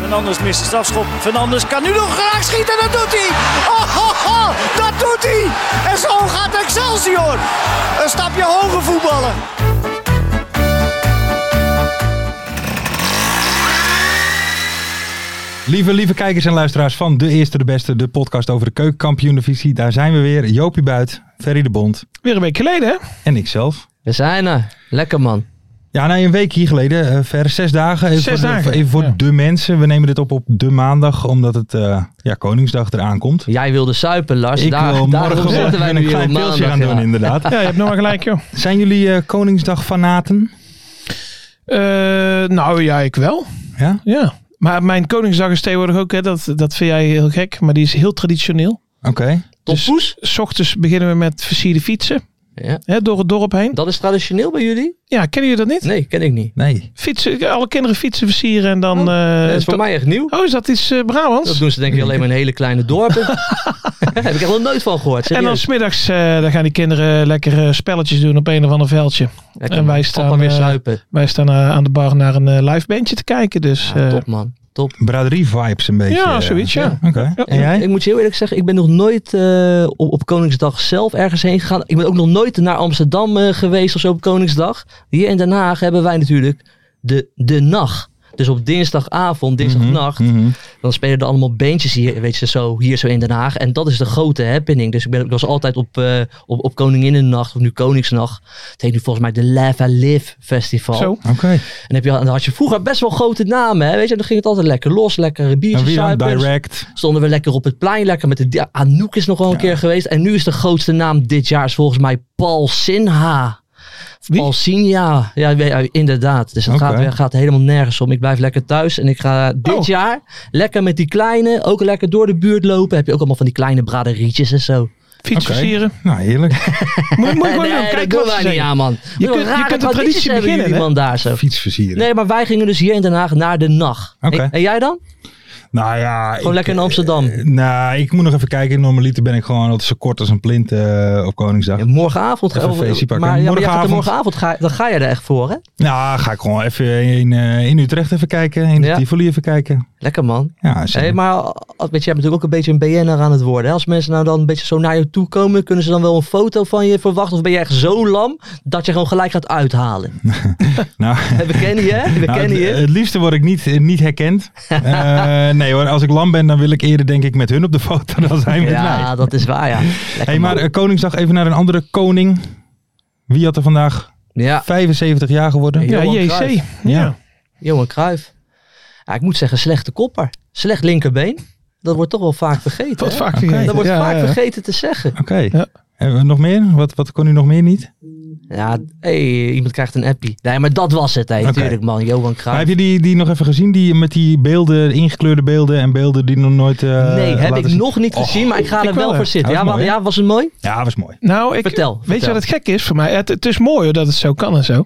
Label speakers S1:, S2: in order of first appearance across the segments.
S1: Fernandes mist de strafschop. Fernandes kan nu nog graag schieten. Dat doet hij. Oh, oh, oh, dat doet hij. En zo gaat Excelsior. Een stapje hoger voetballen.
S2: Lieve, lieve kijkers en luisteraars van De Eerste de Beste, de podcast over de keukenkampioen-divisie. Daar zijn we weer. Joopie Buit, Ferry de Bond
S3: Weer een week geleden, hè?
S2: en ikzelf.
S4: We zijn er. Lekker man.
S2: Ja, nou, een week hier geleden, eh, ver zes dagen. Even
S3: Zes
S2: voor, de-
S3: dagen,
S2: even voor
S3: ja.
S2: de mensen. We nemen dit op op de maandag, omdat het eh, ja, Koningsdag eraan komt.
S4: Jij wilde suipen, Lars.
S2: Ik
S4: Daar,
S2: wil
S4: daarom
S2: morgen
S4: zitten
S2: even
S4: wij nu
S2: een
S4: hier
S2: klein
S4: op maandag,
S2: pilsje gaan
S4: ja.
S2: doen, inderdaad.
S3: Ja, je hebt nog maar gelijk, joh.
S2: Zijn jullie eh, Koningsdag-fanaten?
S3: Eh, nou ja, ik wel.
S2: Ja?
S3: Ja. Maar mijn Koningsdag is tegenwoordig ook, hè, dat, dat vind jij heel gek, maar die is heel traditioneel.
S2: Oké.
S4: Tompoes?
S3: S ochtends beginnen we met versierde fietsen
S4: Ja.
S3: hè, door het dorp heen.
S4: Dat is traditioneel bij jullie?
S3: Ja, kennen jullie dat niet?
S4: Nee, ken ik niet.
S2: Nee.
S3: Fietsen, alle kinderen fietsen versieren en dan... eh,
S4: Oh, dat is voor
S3: to-
S4: mij echt nieuw.
S3: Oh, is dat iets eh, Brabants?
S4: Dat doen ze denk ik alleen maar in hele kleine dorpen. Daar heb ik echt nog nooit van gehoord.
S3: en dan
S4: serieus.
S3: smiddags eh, dan gaan die kinderen lekker eh, spelletjes doen op een of ander veldje.
S4: Lekker,
S3: en wij
S4: man.
S3: staan,
S4: Papa weer
S3: eh,
S4: suipen.
S3: Wij staan eh, aan de bar naar een eh, live bandje te kijken, dus...
S4: Ja,
S3: eh,
S4: top man. Top.
S2: Braderie-vibes een beetje.
S3: ja,
S2: eh.
S3: zoiets, ja.
S2: Oké. En jij?
S4: Ik moet je heel eerlijk zeggen, ik ben nog nooit eh, op, op Koningsdag zelf ergens heen gegaan. Ik ben ook nog nooit naar Amsterdam eh, geweest of zo op Koningsdag. Hier in Den Haag hebben wij natuurlijk de, de nacht. Dus op dinsdagavond, dinsdagnacht,
S2: Mhm.
S4: dan spelen er allemaal beentjes hier, weet je, zo, hier zo in Den Haag. En dat is de grote happening. Dus ik, ben, ik was altijd op, eh op, op Koninginnennacht of nu Koningsnacht. Het heet nu volgens mij de Lava Live Festival.
S3: Zo.
S2: Oké.
S4: En heb je, dan had je vroeger best wel grote namen, hè, weet je. En dan ging het altijd lekker los, lekker
S2: En
S4: biertjes
S2: wie dan?
S4: zuipen.
S2: Nou, Direct.
S4: Stonden we lekker op het plein, lekker met de... ja, Anouk is nog wel een keer geweest. En nu is de grootste naam dit jaar is volgens mij Paul Sinha.
S3: Wie?
S4: Paul Sinha. Ja, ik weet- ja, inderdaad. Dus het
S2: Oké.
S4: gaat, gaat helemaal nergens om. Ik blijf lekker thuis en ik ga dit
S3: Oh.
S4: jaar lekker met die kleine, ook lekker door de buurt lopen. Heb je ook allemaal van die kleine braderietjes en zo.
S3: Fiets
S2: Oké.
S3: versieren.
S2: Nou, heerlijk.
S3: Moet, moet je gewoon
S4: nee,
S3: doen. Kijk
S4: dat doen wij
S3: wat ze
S4: niet
S3: zeggen.
S4: aan, man.
S3: Je
S4: Wat
S3: kunt- je
S4: rare
S3: kunt de
S4: tradities
S3: traditie
S4: hebben
S3: beginnen,
S4: jullie,
S3: hè?
S4: man, daar zo.
S2: Fietsversieren.
S4: Nee, maar wij gingen dus hier in Den Haag naar de nacht.
S2: Oké.
S4: En, en jij dan? Gewoon
S2: Nou ja. Gewoon
S4: lekker
S3: eh,
S4: in Amsterdam.
S2: Nou, ik moet nog even kijken. Normaliter ben ik gewoon altijd zo kort als een plint eh, op Koningsdag.
S4: Ja, morgenavond.
S2: Even
S4: of-
S2: een feestje pakken.
S4: Maar, ja, maar jij gaat er
S2: Morgenavond.
S4: morgenavond ga, dan ga je er echt voor, hè?
S2: Nou, ga ik gewoon even in, eh, in Utrecht even kijken. In de
S4: Ja.
S2: Tivoli even kijken.
S4: Lekker man.
S2: Ja, zeker.
S4: Hey, maar al- weet je, jij bent natuurlijk ook een beetje een BN'er aan het worden. Hè? Als mensen nou dan een beetje zo naar je toe komen, kunnen ze dan wel een foto van je verwachten? Of ben je echt zo lam dat je gewoon gelijk gaat uithalen?
S2: Nou,
S4: Hey, We kennen je, hè? we
S2: nou,
S4: kennen
S2: het,
S4: je.
S2: het liefste word ik niet, eh, niet herkend. Eh, nee hoor, als ik lam ben, dan wil ik eerder denk ik met hun op de foto dan zijn met mij.
S4: Ja, dat is waar, ja. Lekker,
S2: hey, maar
S4: man.
S2: eh, Koningsdag, even naar een andere koning. Wie had er vandaag
S4: ja,
S2: 75 jaar geworden?
S4: Ah. Ja.
S3: Ja,
S4: Johan
S3: JC.
S4: Cruijff.
S3: Ja.
S4: Johan Cruijff. Ja, ik moet zeggen, slechte kopper. Slecht linkerbeen. Dat wordt toch wel vaak vergeten.
S3: Wat
S4: hè?
S3: vaak
S2: Oké.
S3: vergeten.
S4: Dat wordt
S3: Ja,
S4: vaak
S3: ja, ja.
S4: vergeten te zeggen.
S2: Oké.
S3: Ja.
S2: En, eh, nog meer? Wat, wat kon u nog meer niet?
S4: Ja, hey, iemand krijgt een appie. Nee, maar dat was het, hè.
S2: Oké.
S4: Tuurlijk, man. Johan
S2: Maar
S4: Cruijff.
S2: heb je die, die nog even gezien? Die met die beelden, ingekleurde beelden en beelden die nog nooit. eh,
S4: nee, heb
S2: laten
S4: ik
S2: zien?
S4: nog niet
S2: Och,
S4: gezien, maar ik ga
S3: ik
S4: er
S3: wel,
S4: wel
S3: hè.
S4: voor
S2: Dat
S4: zitten. Ja,
S2: is
S4: wa-
S2: mooi, hè?
S4: ja, was het mooi?
S2: Ja, was mooi.
S3: Nou, ik,
S4: Vertel,
S3: weet
S4: vertel.
S3: je wat het gek is voor mij? Het, het is mooi hoor, dat het zo kan en zo.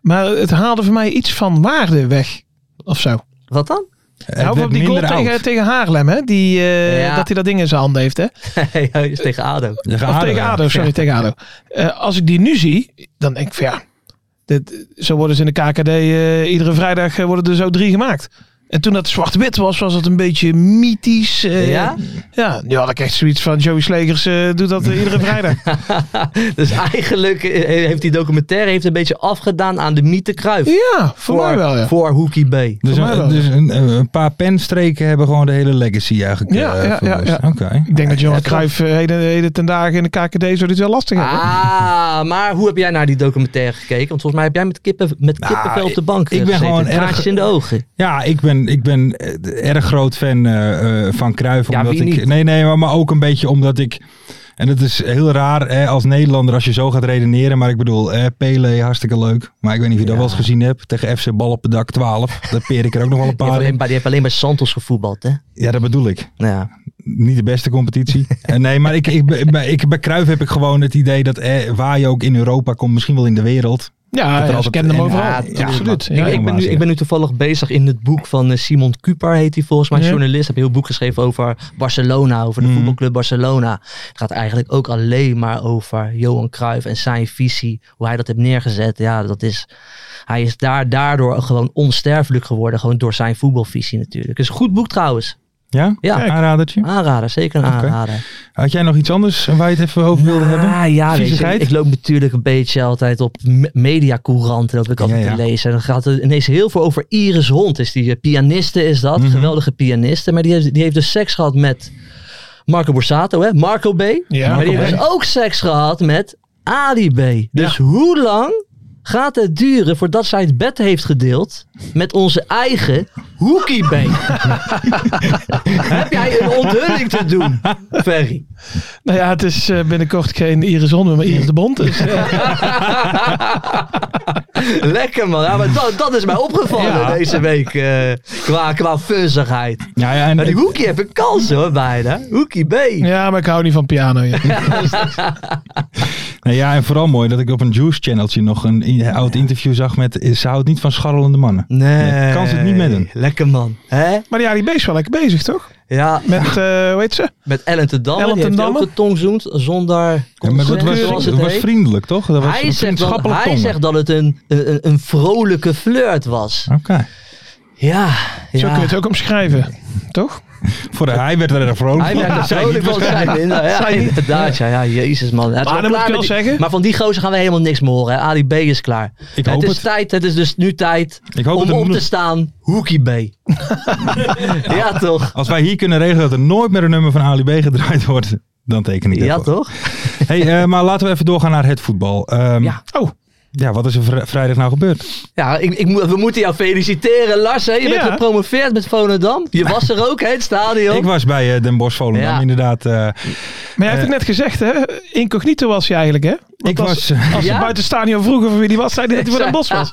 S3: Maar het haalde voor mij iets van waarde weg. Of zo.
S4: Wat dan?
S2: het
S3: Nou,
S2: werd
S3: op die goal
S2: minder oud.
S3: tegen, tegen Haarlem, hè? Die, eh,
S4: Ja.
S3: Dat hij dat ding in zijn hand heeft, hè?
S4: Nee, hij is tegen ADO.
S2: Ja,
S3: Of tegen
S2: ja.
S3: ADO, sorry, tegen ADO. Eh, als ik die nu zie, dan denk ik van ja... Dit, zo worden ze in de KKD, eh, iedere vrijdag eh, worden er zo drie gemaakt. En toen dat zwart-wit was, was het een beetje mythisch. eh,
S4: Ja?
S3: Ja, nu had ik echt zoiets van Joey Slegers eh, doet dat eh, iedere vrijdag.
S4: Dus eigenlijk eh, heeft die documentaire heeft een beetje afgedaan aan de mythe Kruif.
S3: Ja, voor, mij wel ja.
S4: Voor Hoekie B.
S2: Dus,
S3: Voor mij
S2: een,
S3: wel.
S2: dus een, een paar penstreken hebben gewoon de hele legacy eigenlijk
S3: Ja,
S2: eh,
S3: ja, ja,
S2: verwoest.
S3: ja.
S2: Oké.
S3: Ik denk dat Johan Cruijff eh, heden, heden ten dagen in de KKD zou dit wel lastig hebben.
S4: Ah, maar hoe heb jij naar die documentaire gekeken? Want volgens mij heb jij met, kippen, met
S2: Nou,
S4: kippenvel op de
S2: ik-
S4: bank eh,
S2: ik ben
S4: gezeten.
S2: gewoon erg-
S4: Traantjes in de ogen.
S2: Ja, ik ben, ik ben eh, erg groot fan eh, eh, van Cruijff.
S4: Ja,
S2: Omdat
S4: wie
S2: ik,
S4: niet?
S2: Nee, nee, maar, maar ook een beetje omdat ik... En het is heel raar hè, als Nederlander als je zo gaat redeneren. Maar ik bedoel, eh, Pele, hartstikke leuk. Maar ik weet niet of je dat wel eens gezien hebt. Tegen FC Bal op het dak 12. Daar peer ik er ook nog wel een
S4: Die
S2: paar
S4: heeft alleen
S2: in.
S4: maar- die heeft alleen bij Santos gevoetbald, hè?
S2: Ja, dat bedoel ik.
S4: Ja.
S2: Niet de beste competitie. Eh, nee, maar ik, ik, ik, bij- ik, bij Cruijff heb ik gewoon het idee dat eh, waar je ook in Europa komt, misschien wel in de wereld. Dat
S3: Ja,
S2: er
S3: ja, ze
S2: altijd-
S3: kennen hem
S2: en-
S3: overal.
S2: ja,
S3: Ja, absoluut.
S2: tuurlijk,
S4: ik,
S3: Ja, ik-
S4: ik, ben
S2: maar
S4: nu,
S2: zeg.
S4: ik ben nu toevallig bezig in het boek van eh, Simon Cupar, heet hij volgens mij,
S3: Ja.
S4: journalist. Heb een heel boek geschreven over Barcelona, over de voetbalclub Barcelona. Het gaat eigenlijk ook alleen maar over Johan Cruijff en zijn visie, hoe hij dat heeft neergezet. Ja, dat is, hij is daar, daardoor gewoon onsterfelijk geworden, gewoon door zijn voetbalvisie natuurlijk. Het is een goed boek trouwens.
S2: Ja?
S4: Ja.
S2: Kijk. Aanradertje.
S4: Aanrader, zeker een
S2: Oké.
S4: aanrader.
S2: Had jij nog iets anders eh, waar je het even over wilde hebben?
S4: Ah ja, weet je,
S2: Viezigheid?
S4: ik loop natuurlijk een beetje altijd op me- mediacouranten, dat ik altijd
S2: Ja, ja.
S4: te lezen. En dan gaat er ineens heel veel over Iris Hond. Is die eh, pianiste is dat,
S2: Mhm.
S4: geweldige pianiste. Maar die heeft, die heeft dus seks gehad met Marco Borsato, hè? Marco B.
S3: Ja,
S4: maar die
S3: Marco
S4: heeft
S3: B.
S4: dus ook seks gehad met Ali B. Dus hoe lang gaat het duren voordat zij het bed heeft gedeeld met onze eigen Hoekie B? Heb jij een onthulling te doen, Ferry?
S3: nou ja, het is eh, binnenkort geen Iris Hond, maar Iris de Bond. Dus, eh,
S4: Lekker man, ja, maar dat, dat is mij opgevallen
S3: Ja.
S4: deze week eh, qua, qua fuzzigheid.
S2: Ja, ja, en,
S4: Maar die Hoekie heeft een kans hoor, bijna. Hoekie B.
S3: ja, maar ik hou niet van piano. Ja.
S2: nou ja, en vooral mooi dat ik op een Juice channeltje nog een i- oud interview zag met eh, ze houdt niet van scharrelende mannen.
S4: Nee.
S2: Nee, kan ze het niet mee doen.
S4: Lekker man. Hè?
S3: Maar ja, die B is wel lekker bezig, toch?
S4: Ja,
S3: Met, eh hoe heet ze?
S4: met Ellen te Damme.
S3: Ellen
S4: die
S3: ten
S4: heeft
S3: Damme?
S4: ook de tong zoend zonder
S2: Ja, maar dat
S4: consent,
S2: was,
S4: zoals
S2: dat
S4: het
S2: was
S4: heet.
S2: vriendelijk, toch? Dat was
S4: Hij
S2: een
S4: zegt, dat,
S2: vriendschappelijk
S4: hij
S2: tongen.
S4: zegt dat het een, een, een vrolijke flirt was.
S2: Oké.
S4: Ja,
S3: Zo kun
S4: ja.
S3: je het ook omschrijven, toch?
S2: Voor de, hij werd er erg vrolijk
S4: Hij
S2: van.
S4: werd er vrolijk van zijn. inderdaad. Ja, inderdaad. Ja, ja, jezus man. Hij is
S3: Maar
S4: wel
S3: dan moet
S4: klaar
S3: ik wel
S4: met die-
S3: zeggen-
S4: Maar van die gozer gaan we helemaal niks meer horen. hè. Ali B is klaar.
S2: Ik
S4: het
S2: hoop
S4: is
S2: het.
S4: tijd. Het is dus nu tijd
S2: Ik hoop
S4: om
S2: het er
S4: op
S2: nog-
S4: te staan. Hoekie B. ja toch?
S2: Als wij hier kunnen regelen dat er nooit meer een nummer van Ali B gedraaid wordt, dan teken ik dat
S4: Ja
S2: voor.
S4: toch?
S2: Hey, eh, maar laten we even doorgaan naar het voetbal. Ehm,
S4: Ja.
S3: Oh,
S2: ja, wat is er vri- vrijdag nou gebeurd?
S4: Ja, ik, ik, moet- we moeten jou feliciteren Lars. Hè? Je bent
S3: Ja.
S4: gepromoveerd met Volendam. Je was er ook hè, in het stadion.
S2: Ik was bij eh, Den Bosch Volendam,
S4: Ja.
S2: inderdaad. eh,
S3: maar jij hebt het net gezegd, hè? Incognito was je eigenlijk, hè?
S2: ik
S3: als-
S2: was... eh,
S3: Als ze
S4: Ja?
S3: buiten het stadion vroegen voor wie die was, zei hij dat hij voor Den Bos was.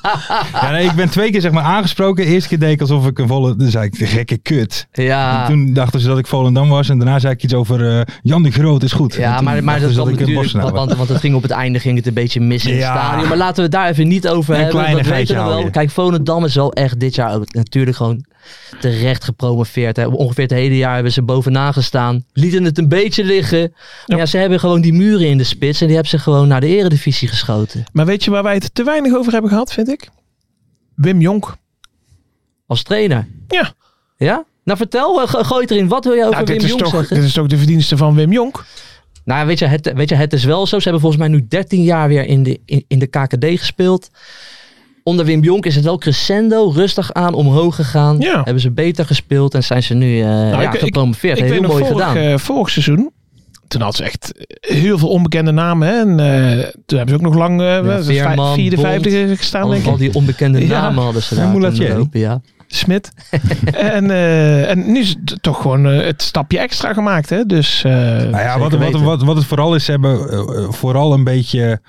S2: Ja, nee, ik ben twee keer zeg maar aangesproken. Eerst keer deed ik alsof ik een volle... Dan zei ik, de gekke kut. En
S4: Ja.
S2: toen dachten ze dat ik Volendam was. En daarna zei ik iets over eh, Jan de Groot is goed. En
S4: Ja,
S2: toen
S4: maar, maar
S2: dachten
S4: dat
S2: ze
S4: kwam
S2: ik een
S4: natuurlijk,
S2: Bossenaar
S4: want,
S2: was.
S4: want, want het ging op het einde ging het een beetje mis in het
S2: Ja.
S4: stadion. Maar laten we het daar even niet over
S2: Een
S4: hebben. Dat
S2: kleinigheidje
S4: weten we
S2: hou
S4: wel.
S2: je.
S4: Kijk, Volendam is wel echt dit jaar ook natuurlijk gewoon terecht gepromoveerd. Hè. Ongeveer het hele jaar hebben ze bovenaan gestaan. Lieten het een beetje liggen. Maar
S3: Ja.
S4: ja, ze hebben gewoon die muren in de spits en die hebben ze gewoon naar de eredivisie geschoten.
S3: Maar weet je waar wij het te weinig over hebben gehad, vind ik? Wim Jonk.
S4: Als trainer.
S3: Ja.
S4: Ja? Nou vertel, eh, go- gooi het erin. Wat wil je over
S3: Nou, dit,
S4: Wim
S3: is
S4: Jong
S3: toch,
S4: zeggen?
S3: dit is toch de verdienste van Wim Jonk?
S4: Nou, weet je, het, weet je, het is wel zo. Ze hebben volgens mij nu 13 jaar weer in de, in, in de KKD gespeeld. Onder Wim Jonk is het wel crescendo, rustig aan, omhoog gegaan.
S3: Ja.
S4: Hebben ze beter gespeeld en zijn ze nu eh ja,
S3: ik- ik-
S4: gepromoveerd.
S3: ik
S4: Heel
S3: weet nog
S4: mooi
S3: vorig,
S4: gedaan.
S3: eh, vorig seizoen, toen had ze echt heel veel onbekende namen. Hè? En eh, toen hebben ze ook nog lang eh wel, ze vij-
S4: Veerman,
S3: vierde,
S4: Bond,
S3: vijfde gestaan,
S4: al,
S3: denk
S4: al
S3: ik.
S4: die onbekende
S3: Ja.
S4: namen hadden ze
S2: En
S4: daar
S2: Moulatier.
S4: toen lopen, ja.
S3: Smit. en, eh, en nu is het toch gewoon eh, het stapje extra gemaakt. Hè? Dus eh,
S2: Nou ja, wat, wat,
S4: Zeker weten.
S2: wat, wat het vooral is, ze hebben eh, eh, vooral een beetje,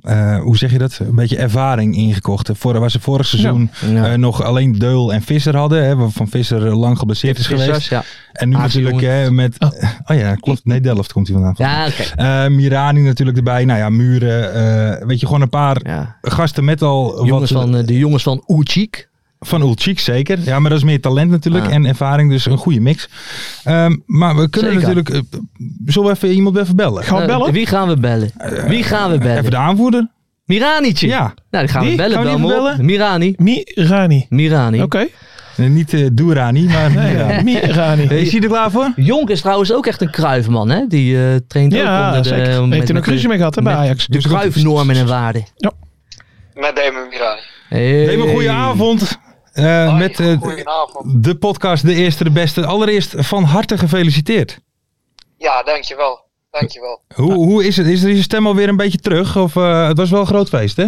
S2: eh, hoe zeg je dat? Een beetje ervaring ingekocht. Eh, Voor, waar ze vorig seizoen
S4: Ja.
S2: eh, nog alleen Deul en Visser hadden, hè, waarvan Visser eh, lang geblesseerd is geweest.
S4: Vissers, ja. Ah,
S2: En nu
S4: AC
S2: natuurlijk
S4: Jongens.
S2: hè, met, oh. ja, klopt. Nee, Delft komt hij vandaan.
S4: Ja, oké.
S2: Eh, Mirani natuurlijk erbij. Nou ja, Muren. eh, weet je, gewoon een paar
S4: Ja.
S2: gasten met al
S4: Jongens
S2: wat
S4: van, eh, de jongens van Oechik.
S2: van Ulchik zeker. Ja, maar dat is meer talent natuurlijk
S4: Ja.
S2: en ervaring, dus een goede mix. Ehm, maar we kunnen
S4: Zeker.
S2: natuurlijk. eh, zullen we even iemand even bellen?
S3: gewoon
S4: Nou,
S3: bellen.
S4: Wie gaan we bellen? Wie gaan we bellen?
S2: Even de aanvoerder.
S4: Miranietje.
S2: Ja.
S4: Nou, die gaan
S2: Die?
S4: we bellen.
S2: Gaan we die
S4: bel
S2: even
S4: hem op.
S2: bellen?
S4: Mirani.
S3: Mirani.
S4: Mirani.
S3: Oké.
S2: Nee, niet eh Durani, maar Mirani.
S3: Mirani.
S2: Is hij er klaar voor?
S4: Jonk is trouwens ook echt een kruifman, hè? Die eh, traint ook
S3: Ja,
S4: onder de...
S3: zeker.
S4: met-
S3: Heeft toen
S4: met
S3: een
S4: de-
S3: cruise mee gehad hè, bij
S4: met
S3: Ajax.
S4: De kruifnormen en waarden.
S5: Met Damon Mirani.
S4: Hey.
S2: Neem een goede avond. eh,
S5: Hoi,
S2: met eh,
S5: goedenavond.
S2: de podcast De Eerste de Beste. Allereerst van harte gefeliciteerd.
S5: Ja, dankjewel. Dankjewel.
S2: Hoe, hoe is het? Is er je stem alweer een beetje terug? Of, eh, het was wel een groot feest, hè?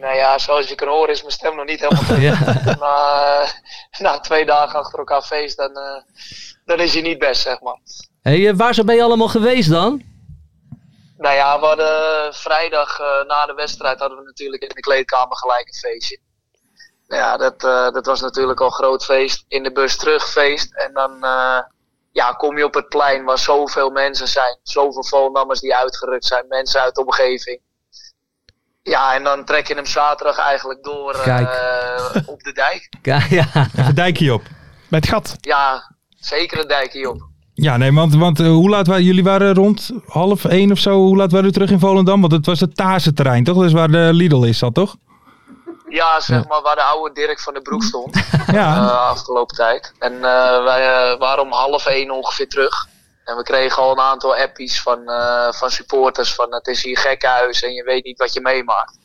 S5: Nou ja, zoals je kan horen is mijn stem nog niet helemaal goed.
S4: Ja.
S5: Maar eh, na twee dagen achter elkaar feest, dan, eh, dan is hij niet best, zeg maar.
S4: Hey, eh, waar zo ben je allemaal geweest dan?
S5: Nou ja, we hadden vrijdag eh, na de wedstrijd hadden we natuurlijk in de kleedkamer gelijk een feestje. Nou ja, dat, eh, dat was natuurlijk al een groot feest. In de bus terug feest. En dan eh, ja, kom je op het plein waar zoveel mensen zijn. Zoveel Volendammers die uitgerukt zijn. Mensen uit de omgeving. Ja, en dan trek je hem zaterdag eigenlijk door eh,
S4: Kijk.
S5: op de dijk.
S4: Ja, ja.
S2: Even dijkje op.
S3: Bij het gat.
S5: Ja, zeker een dijk hierop.
S2: Ja, nee, want, want eh, hoe laat waren jullie waren rond half één of zo? Hoe laat waren jullie terug in Volendam? Want het was het Tazenterrein, toch? Dat is waar de Lidl is, dat toch?
S5: Ja, zeg maar waar de oude Dirk van de Broek stond.
S2: Ja.
S5: eh, afgelopen tijd. En eh, wij eh, waren om half één ongeveer terug. En we kregen al een aantal appies van, eh, van supporters van het is hier gekkenhuis en je weet niet wat je meemaakt.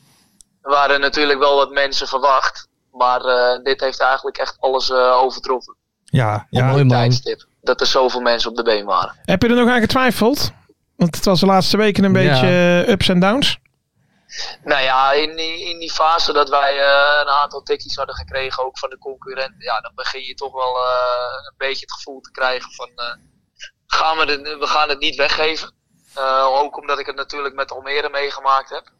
S5: Er waren natuurlijk wel wat mensen verwacht, maar eh, dit heeft eigenlijk echt alles eh, overtroffen.
S2: Ja, ja.
S4: mooi man.
S5: Tijdstip, dat er zoveel mensen op de been waren.
S3: Heb je er nog aan getwijfeld? Want het was de laatste weken een
S4: Ja.
S3: beetje eh, ups en downs.
S5: Nou ja, in die, in die fase dat wij eh, een aantal tikkies hadden gekregen, ook van de concurrenten, ja, dan begin je toch wel eh, een beetje het gevoel te krijgen van eh, gaan we, de, we gaan het niet weggeven. Eh, ook omdat ik het natuurlijk met Almere meegemaakt heb.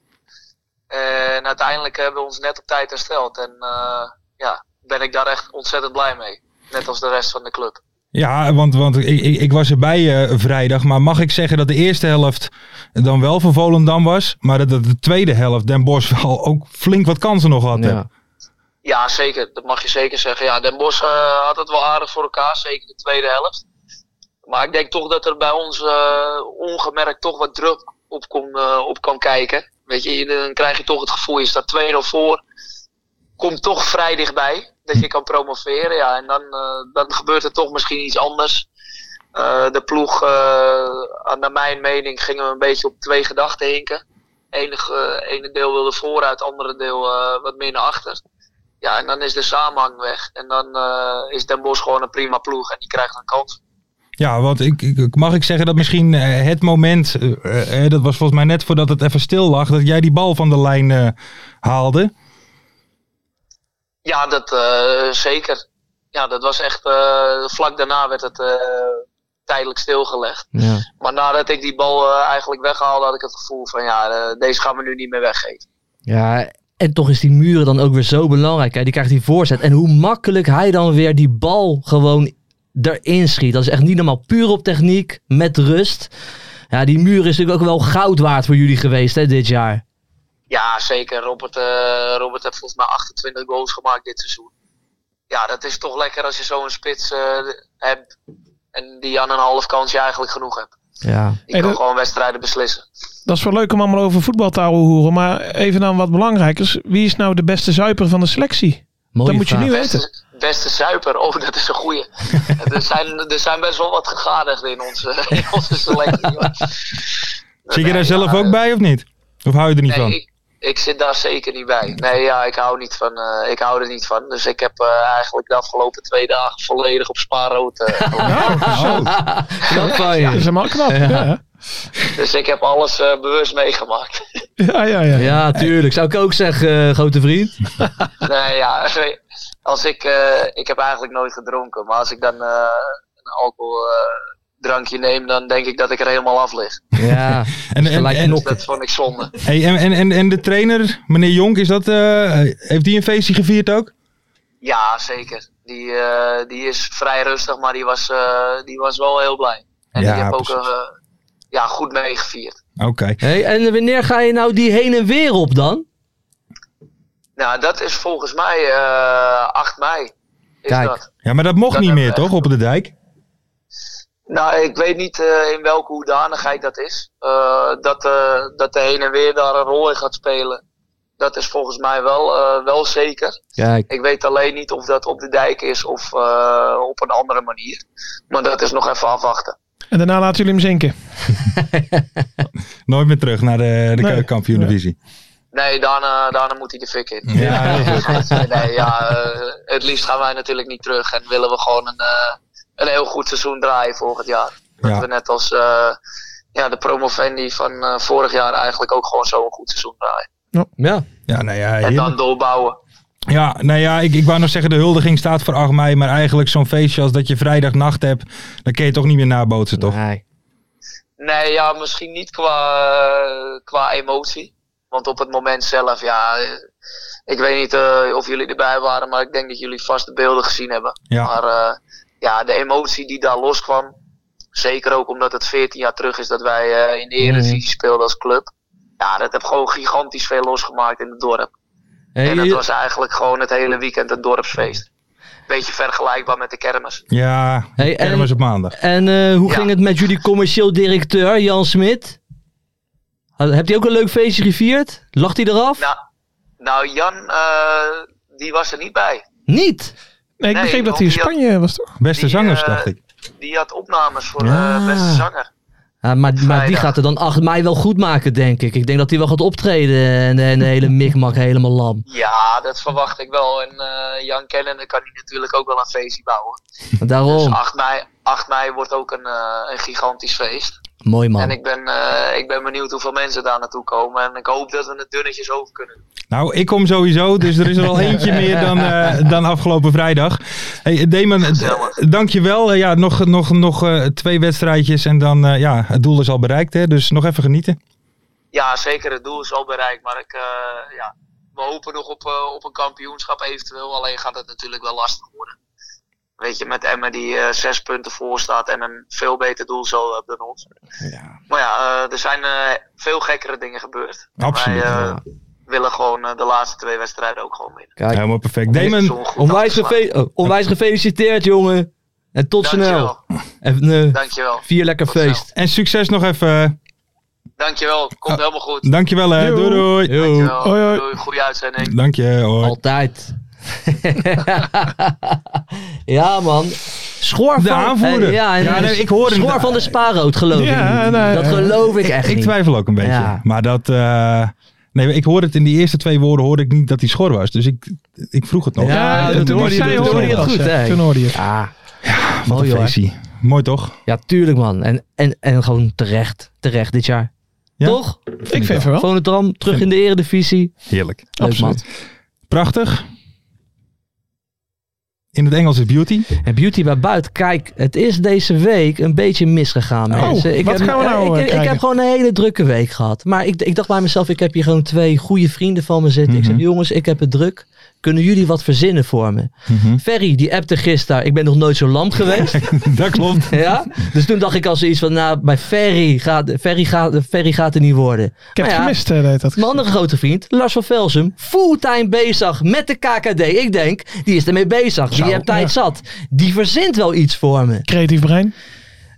S5: En uiteindelijk hebben we ons net op tijd hersteld. En eh, ja, ben ik daar echt ontzettend blij mee. Net als de rest van de club.
S2: Ja, want, want ik, ik, ik was erbij eh, vrijdag. Maar mag ik zeggen dat de eerste helft dan wel voor Volendam was. Maar dat- dat de tweede helft Den Bosch wel ook flink wat kansen nog had. hè?
S4: Ja.
S5: Ja, zeker. Dat mag je zeker zeggen. Ja, Den Bosch eh, had het wel aardig voor elkaar, zeker de tweede helft. Maar ik denk toch dat er bij ons eh, ongemerkt toch wat druk op, kon, eh, op kan kijken. Weet je, dan krijg je toch het gevoel, je staat 2-0 voor. Komt toch vrij dichtbij dat je kan promoveren. Ja, en dan, eh, dan gebeurt er toch misschien iets anders. Eh, de ploeg, eh, aan- naar mijn mening, gingen we een beetje op twee gedachten hinken. Enig, eh, ene deel wilde vooruit, andere deel eh, wat meer naar achter. Ja, en dan is de samenhang weg. En dan eh, is Den Bosch gewoon een prima ploeg en die krijgt een kans.
S2: Ja, want ik, ik, mag ik zeggen dat misschien eh, het moment, eh, eh, dat was volgens mij net voordat het even stil lag, dat jij die bal van de lijn eh, haalde.
S5: Ja, dat eh, zeker. Ja, dat was echt. eh, vlak daarna werd het eh, tijdelijk stilgelegd.
S4: Ja.
S5: Maar nadat ik die bal eh, eigenlijk weghaalde, had ik het gevoel van ja, eh, deze gaan we nu niet meer weggeven.
S4: Ja, en toch is die muren dan ook weer zo belangrijk. Hè? Die krijgt die voorzet. En hoe makkelijk hij dan weer die bal gewoon erin schiet. Dat is echt niet normaal. Puur op techniek, met rust. Ja, die muur is natuurlijk ook wel goud waard voor jullie geweest hè, dit jaar.
S5: Ja, zeker. Robert, eh, Robert heeft volgens mij 28 goals gemaakt dit seizoen. Ja, dat is toch lekker als je zo'n spits eh, hebt. En die aan een half kansje eigenlijk genoeg hebt.
S4: Ja.
S5: Die
S3: Hey,
S5: kan
S3: dat-
S5: gewoon wedstrijden beslissen.
S3: Dat is wel leuk om allemaal over voetbal te ouwe hoeren. Maar even dan wat belangrijkers. Wie is nou de beste zuiper van de selectie?
S4: Mooie
S3: dat moet je
S4: vraag.
S3: nu weten.
S5: Beste, beste zuiper, oh dat is een goeie. er, zijn, er zijn best wel wat gegadigden in onze, in onze selectie. hoor.
S2: Zit je
S5: Nee,
S2: daar zelf
S5: ja,
S2: ook bij of niet? Of hou je er niet
S5: Nee,
S2: van?
S5: ik, ik zit daar zeker niet bij. Nee, ja, ik hou, niet van, eh, ik hou er niet van. Dus ik heb eh, eigenlijk de afgelopen twee dagen volledig op spaarrood. eh, gelopen.
S2: Oh.
S4: Knap van
S3: Dat is
S4: je.
S3: helemaal knap. Ja, ja.
S5: dus ik heb alles eh, bewust meegemaakt.
S3: ja, ja, ja.
S4: Ja, tuurlijk. Zou ik ook zeggen, eh, grote vriend.
S5: nee, ja, als ik, eh, ik heb eigenlijk nooit gedronken. Maar als ik dan eh, een alcoholdrankje neem, dan denk ik dat ik er helemaal af lig.
S4: Ja,
S2: En, en,
S4: gelijk
S2: en,
S4: knokken.
S5: Dat vond ik zonde.
S2: hey, en, en, en, en de trainer, meneer Jonk, is dat, eh, heeft die een feestje gevierd ook?
S5: Ja, zeker. Die, eh, die is vrij rustig, maar die was, eh, die was wel heel blij. En
S2: Ja,
S5: die heb ook
S2: precies.
S5: eh, ja, goed meegevierd.
S2: Oké.
S4: Hey, en wanneer ga je nou die heen en weer op dan?
S5: Nou, dat is volgens mij eh 8 mei. Is
S4: Kijk.
S5: dat.
S2: Ja, maar dat mocht
S5: Dat
S2: niet
S5: hebben
S2: meer,
S5: we
S2: toch? Op de dijk?
S5: Nou, ik weet niet eh, in welke hoedanigheid dat is. Eh, dat, eh, dat de heen en weer daar een rol in gaat spelen. Dat is volgens mij wel, eh, wel zeker.
S4: Kijk,
S5: Ik weet alleen niet of dat op de dijk is of eh, op een andere manier. Maar dat is nog even afwachten.
S3: En daarna laten jullie hem zinken.
S2: Nooit meer terug naar de, de
S3: Nee.
S2: keukenkampioen-divisie.
S5: Nee, daarna, daarna moet hij de fik in.
S2: Ja, heel
S5: nee, ja, eh, het liefst gaan wij natuurlijk niet terug en willen we gewoon een, eh, een heel goed seizoen draaien volgend jaar. Dat
S2: Ja.
S5: we net als eh, ja, de promovendi van eh, vorig jaar eigenlijk ook gewoon zo'n goed seizoen draaien.
S4: ja.
S2: Ja, nou ja,
S5: En
S2: heerlijk.
S5: dan doorbouwen.
S2: Ja, nou ja, ik, ik wou nog zeggen, de huldiging staat voor 8 mei. Maar eigenlijk zo'n feestje als dat je vrijdagnacht hebt, dan kun je toch niet meer nabootsen, toch?
S4: Nee.
S5: Nee, ja, misschien niet qua, eh, qua emotie. Want op het moment zelf, ja, eh, ik weet niet eh, of jullie erbij waren, maar ik denk dat jullie vast de beelden gezien hebben.
S2: Ja,
S5: Maar eh, ja, de emotie die daar loskwam, zeker ook omdat het 14 jaar terug is dat wij eh, in de
S4: Mm-hmm.
S5: Eredivisie speelden als club. Ja, dat heb gewoon gigantisch veel losgemaakt in het dorp.
S4: Hey,
S5: En dat
S4: je-
S5: was eigenlijk gewoon het hele weekend een dorpsfeest. Beetje vergelijkbaar met de kermis.
S2: ja
S4: Hey, en-
S2: kermis op maandag.
S4: En eh, hoe
S5: Ja.
S4: ging het met jullie commercieel directeur, Jan Smit? Had- Hebt hij ook een leuk feestje gevierd? Lacht hij eraf?
S5: Nou, nou Jan, eh, die was er niet bij.
S4: Niet!
S3: Nee, ik begreep
S5: Nee,
S3: dat hij in
S5: want die
S3: Spanje was, toch?
S2: Beste
S5: die,
S2: zangers,
S5: eh,
S2: dacht ik.
S5: Die had opnames voor
S4: Ja.
S5: eh, beste zanger.
S4: Ja, maar, maar die
S5: Vrijdag.
S4: gaat er dan 8 mei wel goed maken, denk ik. Ik denk dat hij wel gaat optreden en, en de hele mikmak helemaal lam.
S5: Ja, dat verwacht ik wel. En eh, Jan kennende kan hij natuurlijk ook wel een feestje bouwen. Dus
S4: Daarom.
S5: 8 mei, 8 mei wordt ook een, eh, een gigantisch feest.
S4: Mooi man.
S5: En ik ben, eh, ik ben benieuwd hoeveel mensen daar naartoe komen. En ik hoop dat we het dunnetjes over kunnen. doen.
S2: Nou, ik kom sowieso, dus er is er al eentje meer dan, eh, dan afgelopen vrijdag. Hey, Damon, eh,
S5: Gezellig.
S2: dankjewel. Eh, Ja, nog, nog, nog eh, twee wedstrijdjes en dan, eh, ja, het doel is al bereikt, hè, dus nog even genieten.
S5: Ja, zeker. Het doel is al bereikt. Maar ik, eh, ja, we hopen nog op, eh, op een kampioenschap eventueel. Alleen gaat het natuurlijk wel lastig worden. Weet je, met Emmen die eh, zes punten voor staat en een veel beter doel zo hebben dan ons. Maar ja, eh, er zijn eh, veel gekkere dingen gebeurd. En
S2: Absoluut,
S5: Wij eh,
S2: ja.
S5: willen gewoon eh, de laatste twee wedstrijden ook gewoon winnen.
S4: Kijk,
S2: Helemaal perfect.
S5: Dit
S2: Damon,
S5: seizoen goed
S4: onwijs,
S5: afgesloten.
S4: gefe- oh, onwijs gefeliciteerd, jongen. En tot snel.
S5: Dankjewel.
S4: En, eh,
S5: Dankjewel.
S4: vier lekker
S5: Tot snel.
S4: feest.
S2: en succes nog even.
S5: Dankjewel. Komt helemaal goed.
S2: Dankjewel, hè. Doei,
S3: Joe.
S2: eh, doei.
S5: Dankjewel.
S3: Hoi, hoi.
S5: Doei, goede uitzending.
S2: Dank je, hoor.
S4: Altijd. ja, man. Schoor van
S2: De aanvoerder.
S4: Eh, ja, en-
S2: Ja, nee, ik hoorde
S4: Schoor
S2: het.
S4: van de spaarrood, geloof
S3: Ja,
S4: ik. niet.
S3: nee,
S4: dat
S3: eh,
S4: geloof ik echt
S2: Ik
S4: niet.
S2: twijfel ook een beetje.
S4: Ja.
S2: Maar dat... eh, nee, ik hoorde het in die eerste twee woorden hoorde ik niet dat hij schor was, dus ik, ik vroeg het nog.
S4: Ja,
S2: En
S4: dat
S2: toen
S4: hoorde
S2: was
S4: je-
S2: hij
S4: dat
S2: er
S4: hoorde je
S2: toch.
S4: goed, hè?
S3: Toen hoorde je het.
S4: Ja,
S2: Wat een
S4: mooi hoor.
S2: feestie. Oh, Mooi, toch?
S4: Ja, tuurlijk man. En, en, en gewoon terecht. Terecht dit jaar.
S2: Ja?
S4: Toch?
S3: Ik vind het wel.
S4: Volendam, terug in de eredivisie.
S2: Heerlijk.
S4: Leuk man.
S2: Prachtig. In het Engels is beauty.
S4: En Beauty bij Buiten. Kijk, het is deze week een beetje misgegaan
S3: Oh,
S4: mensen. Ik
S3: wat
S4: heb,
S3: gaan we nou, eh,
S4: ik- ik, ik
S3: krijgen?
S4: heb gewoon een hele drukke week gehad. Maar ik, ik dacht bij mezelf, ik heb hier gewoon twee goede vrienden van me zitten. Ik
S2: Mhm.
S4: zeg, jongens, ik heb het druk. Kunnen jullie wat verzinnen voor me?
S3: Mhm.
S4: Ferry, die appte gisteren, ik ben nog nooit zo lam geweest.
S2: Dat klopt.
S4: ja? Dus toen dacht ik al zoiets van, nou, bij Ferry gaat, Ferry gaat, Ferry gaat er niet worden.
S3: Ik heb
S4: Maar
S3: het
S4: ja,
S3: gemist, eh, dat dat
S4: Mijn andere grote vriend, Lars van Velsum, fulltime bezig met de KKD. Ik denk, die is ermee bezig. Die
S3: Zo,
S4: heeft tijd
S3: ja.
S4: zat. Die verzint wel iets voor me.
S3: creatief brein.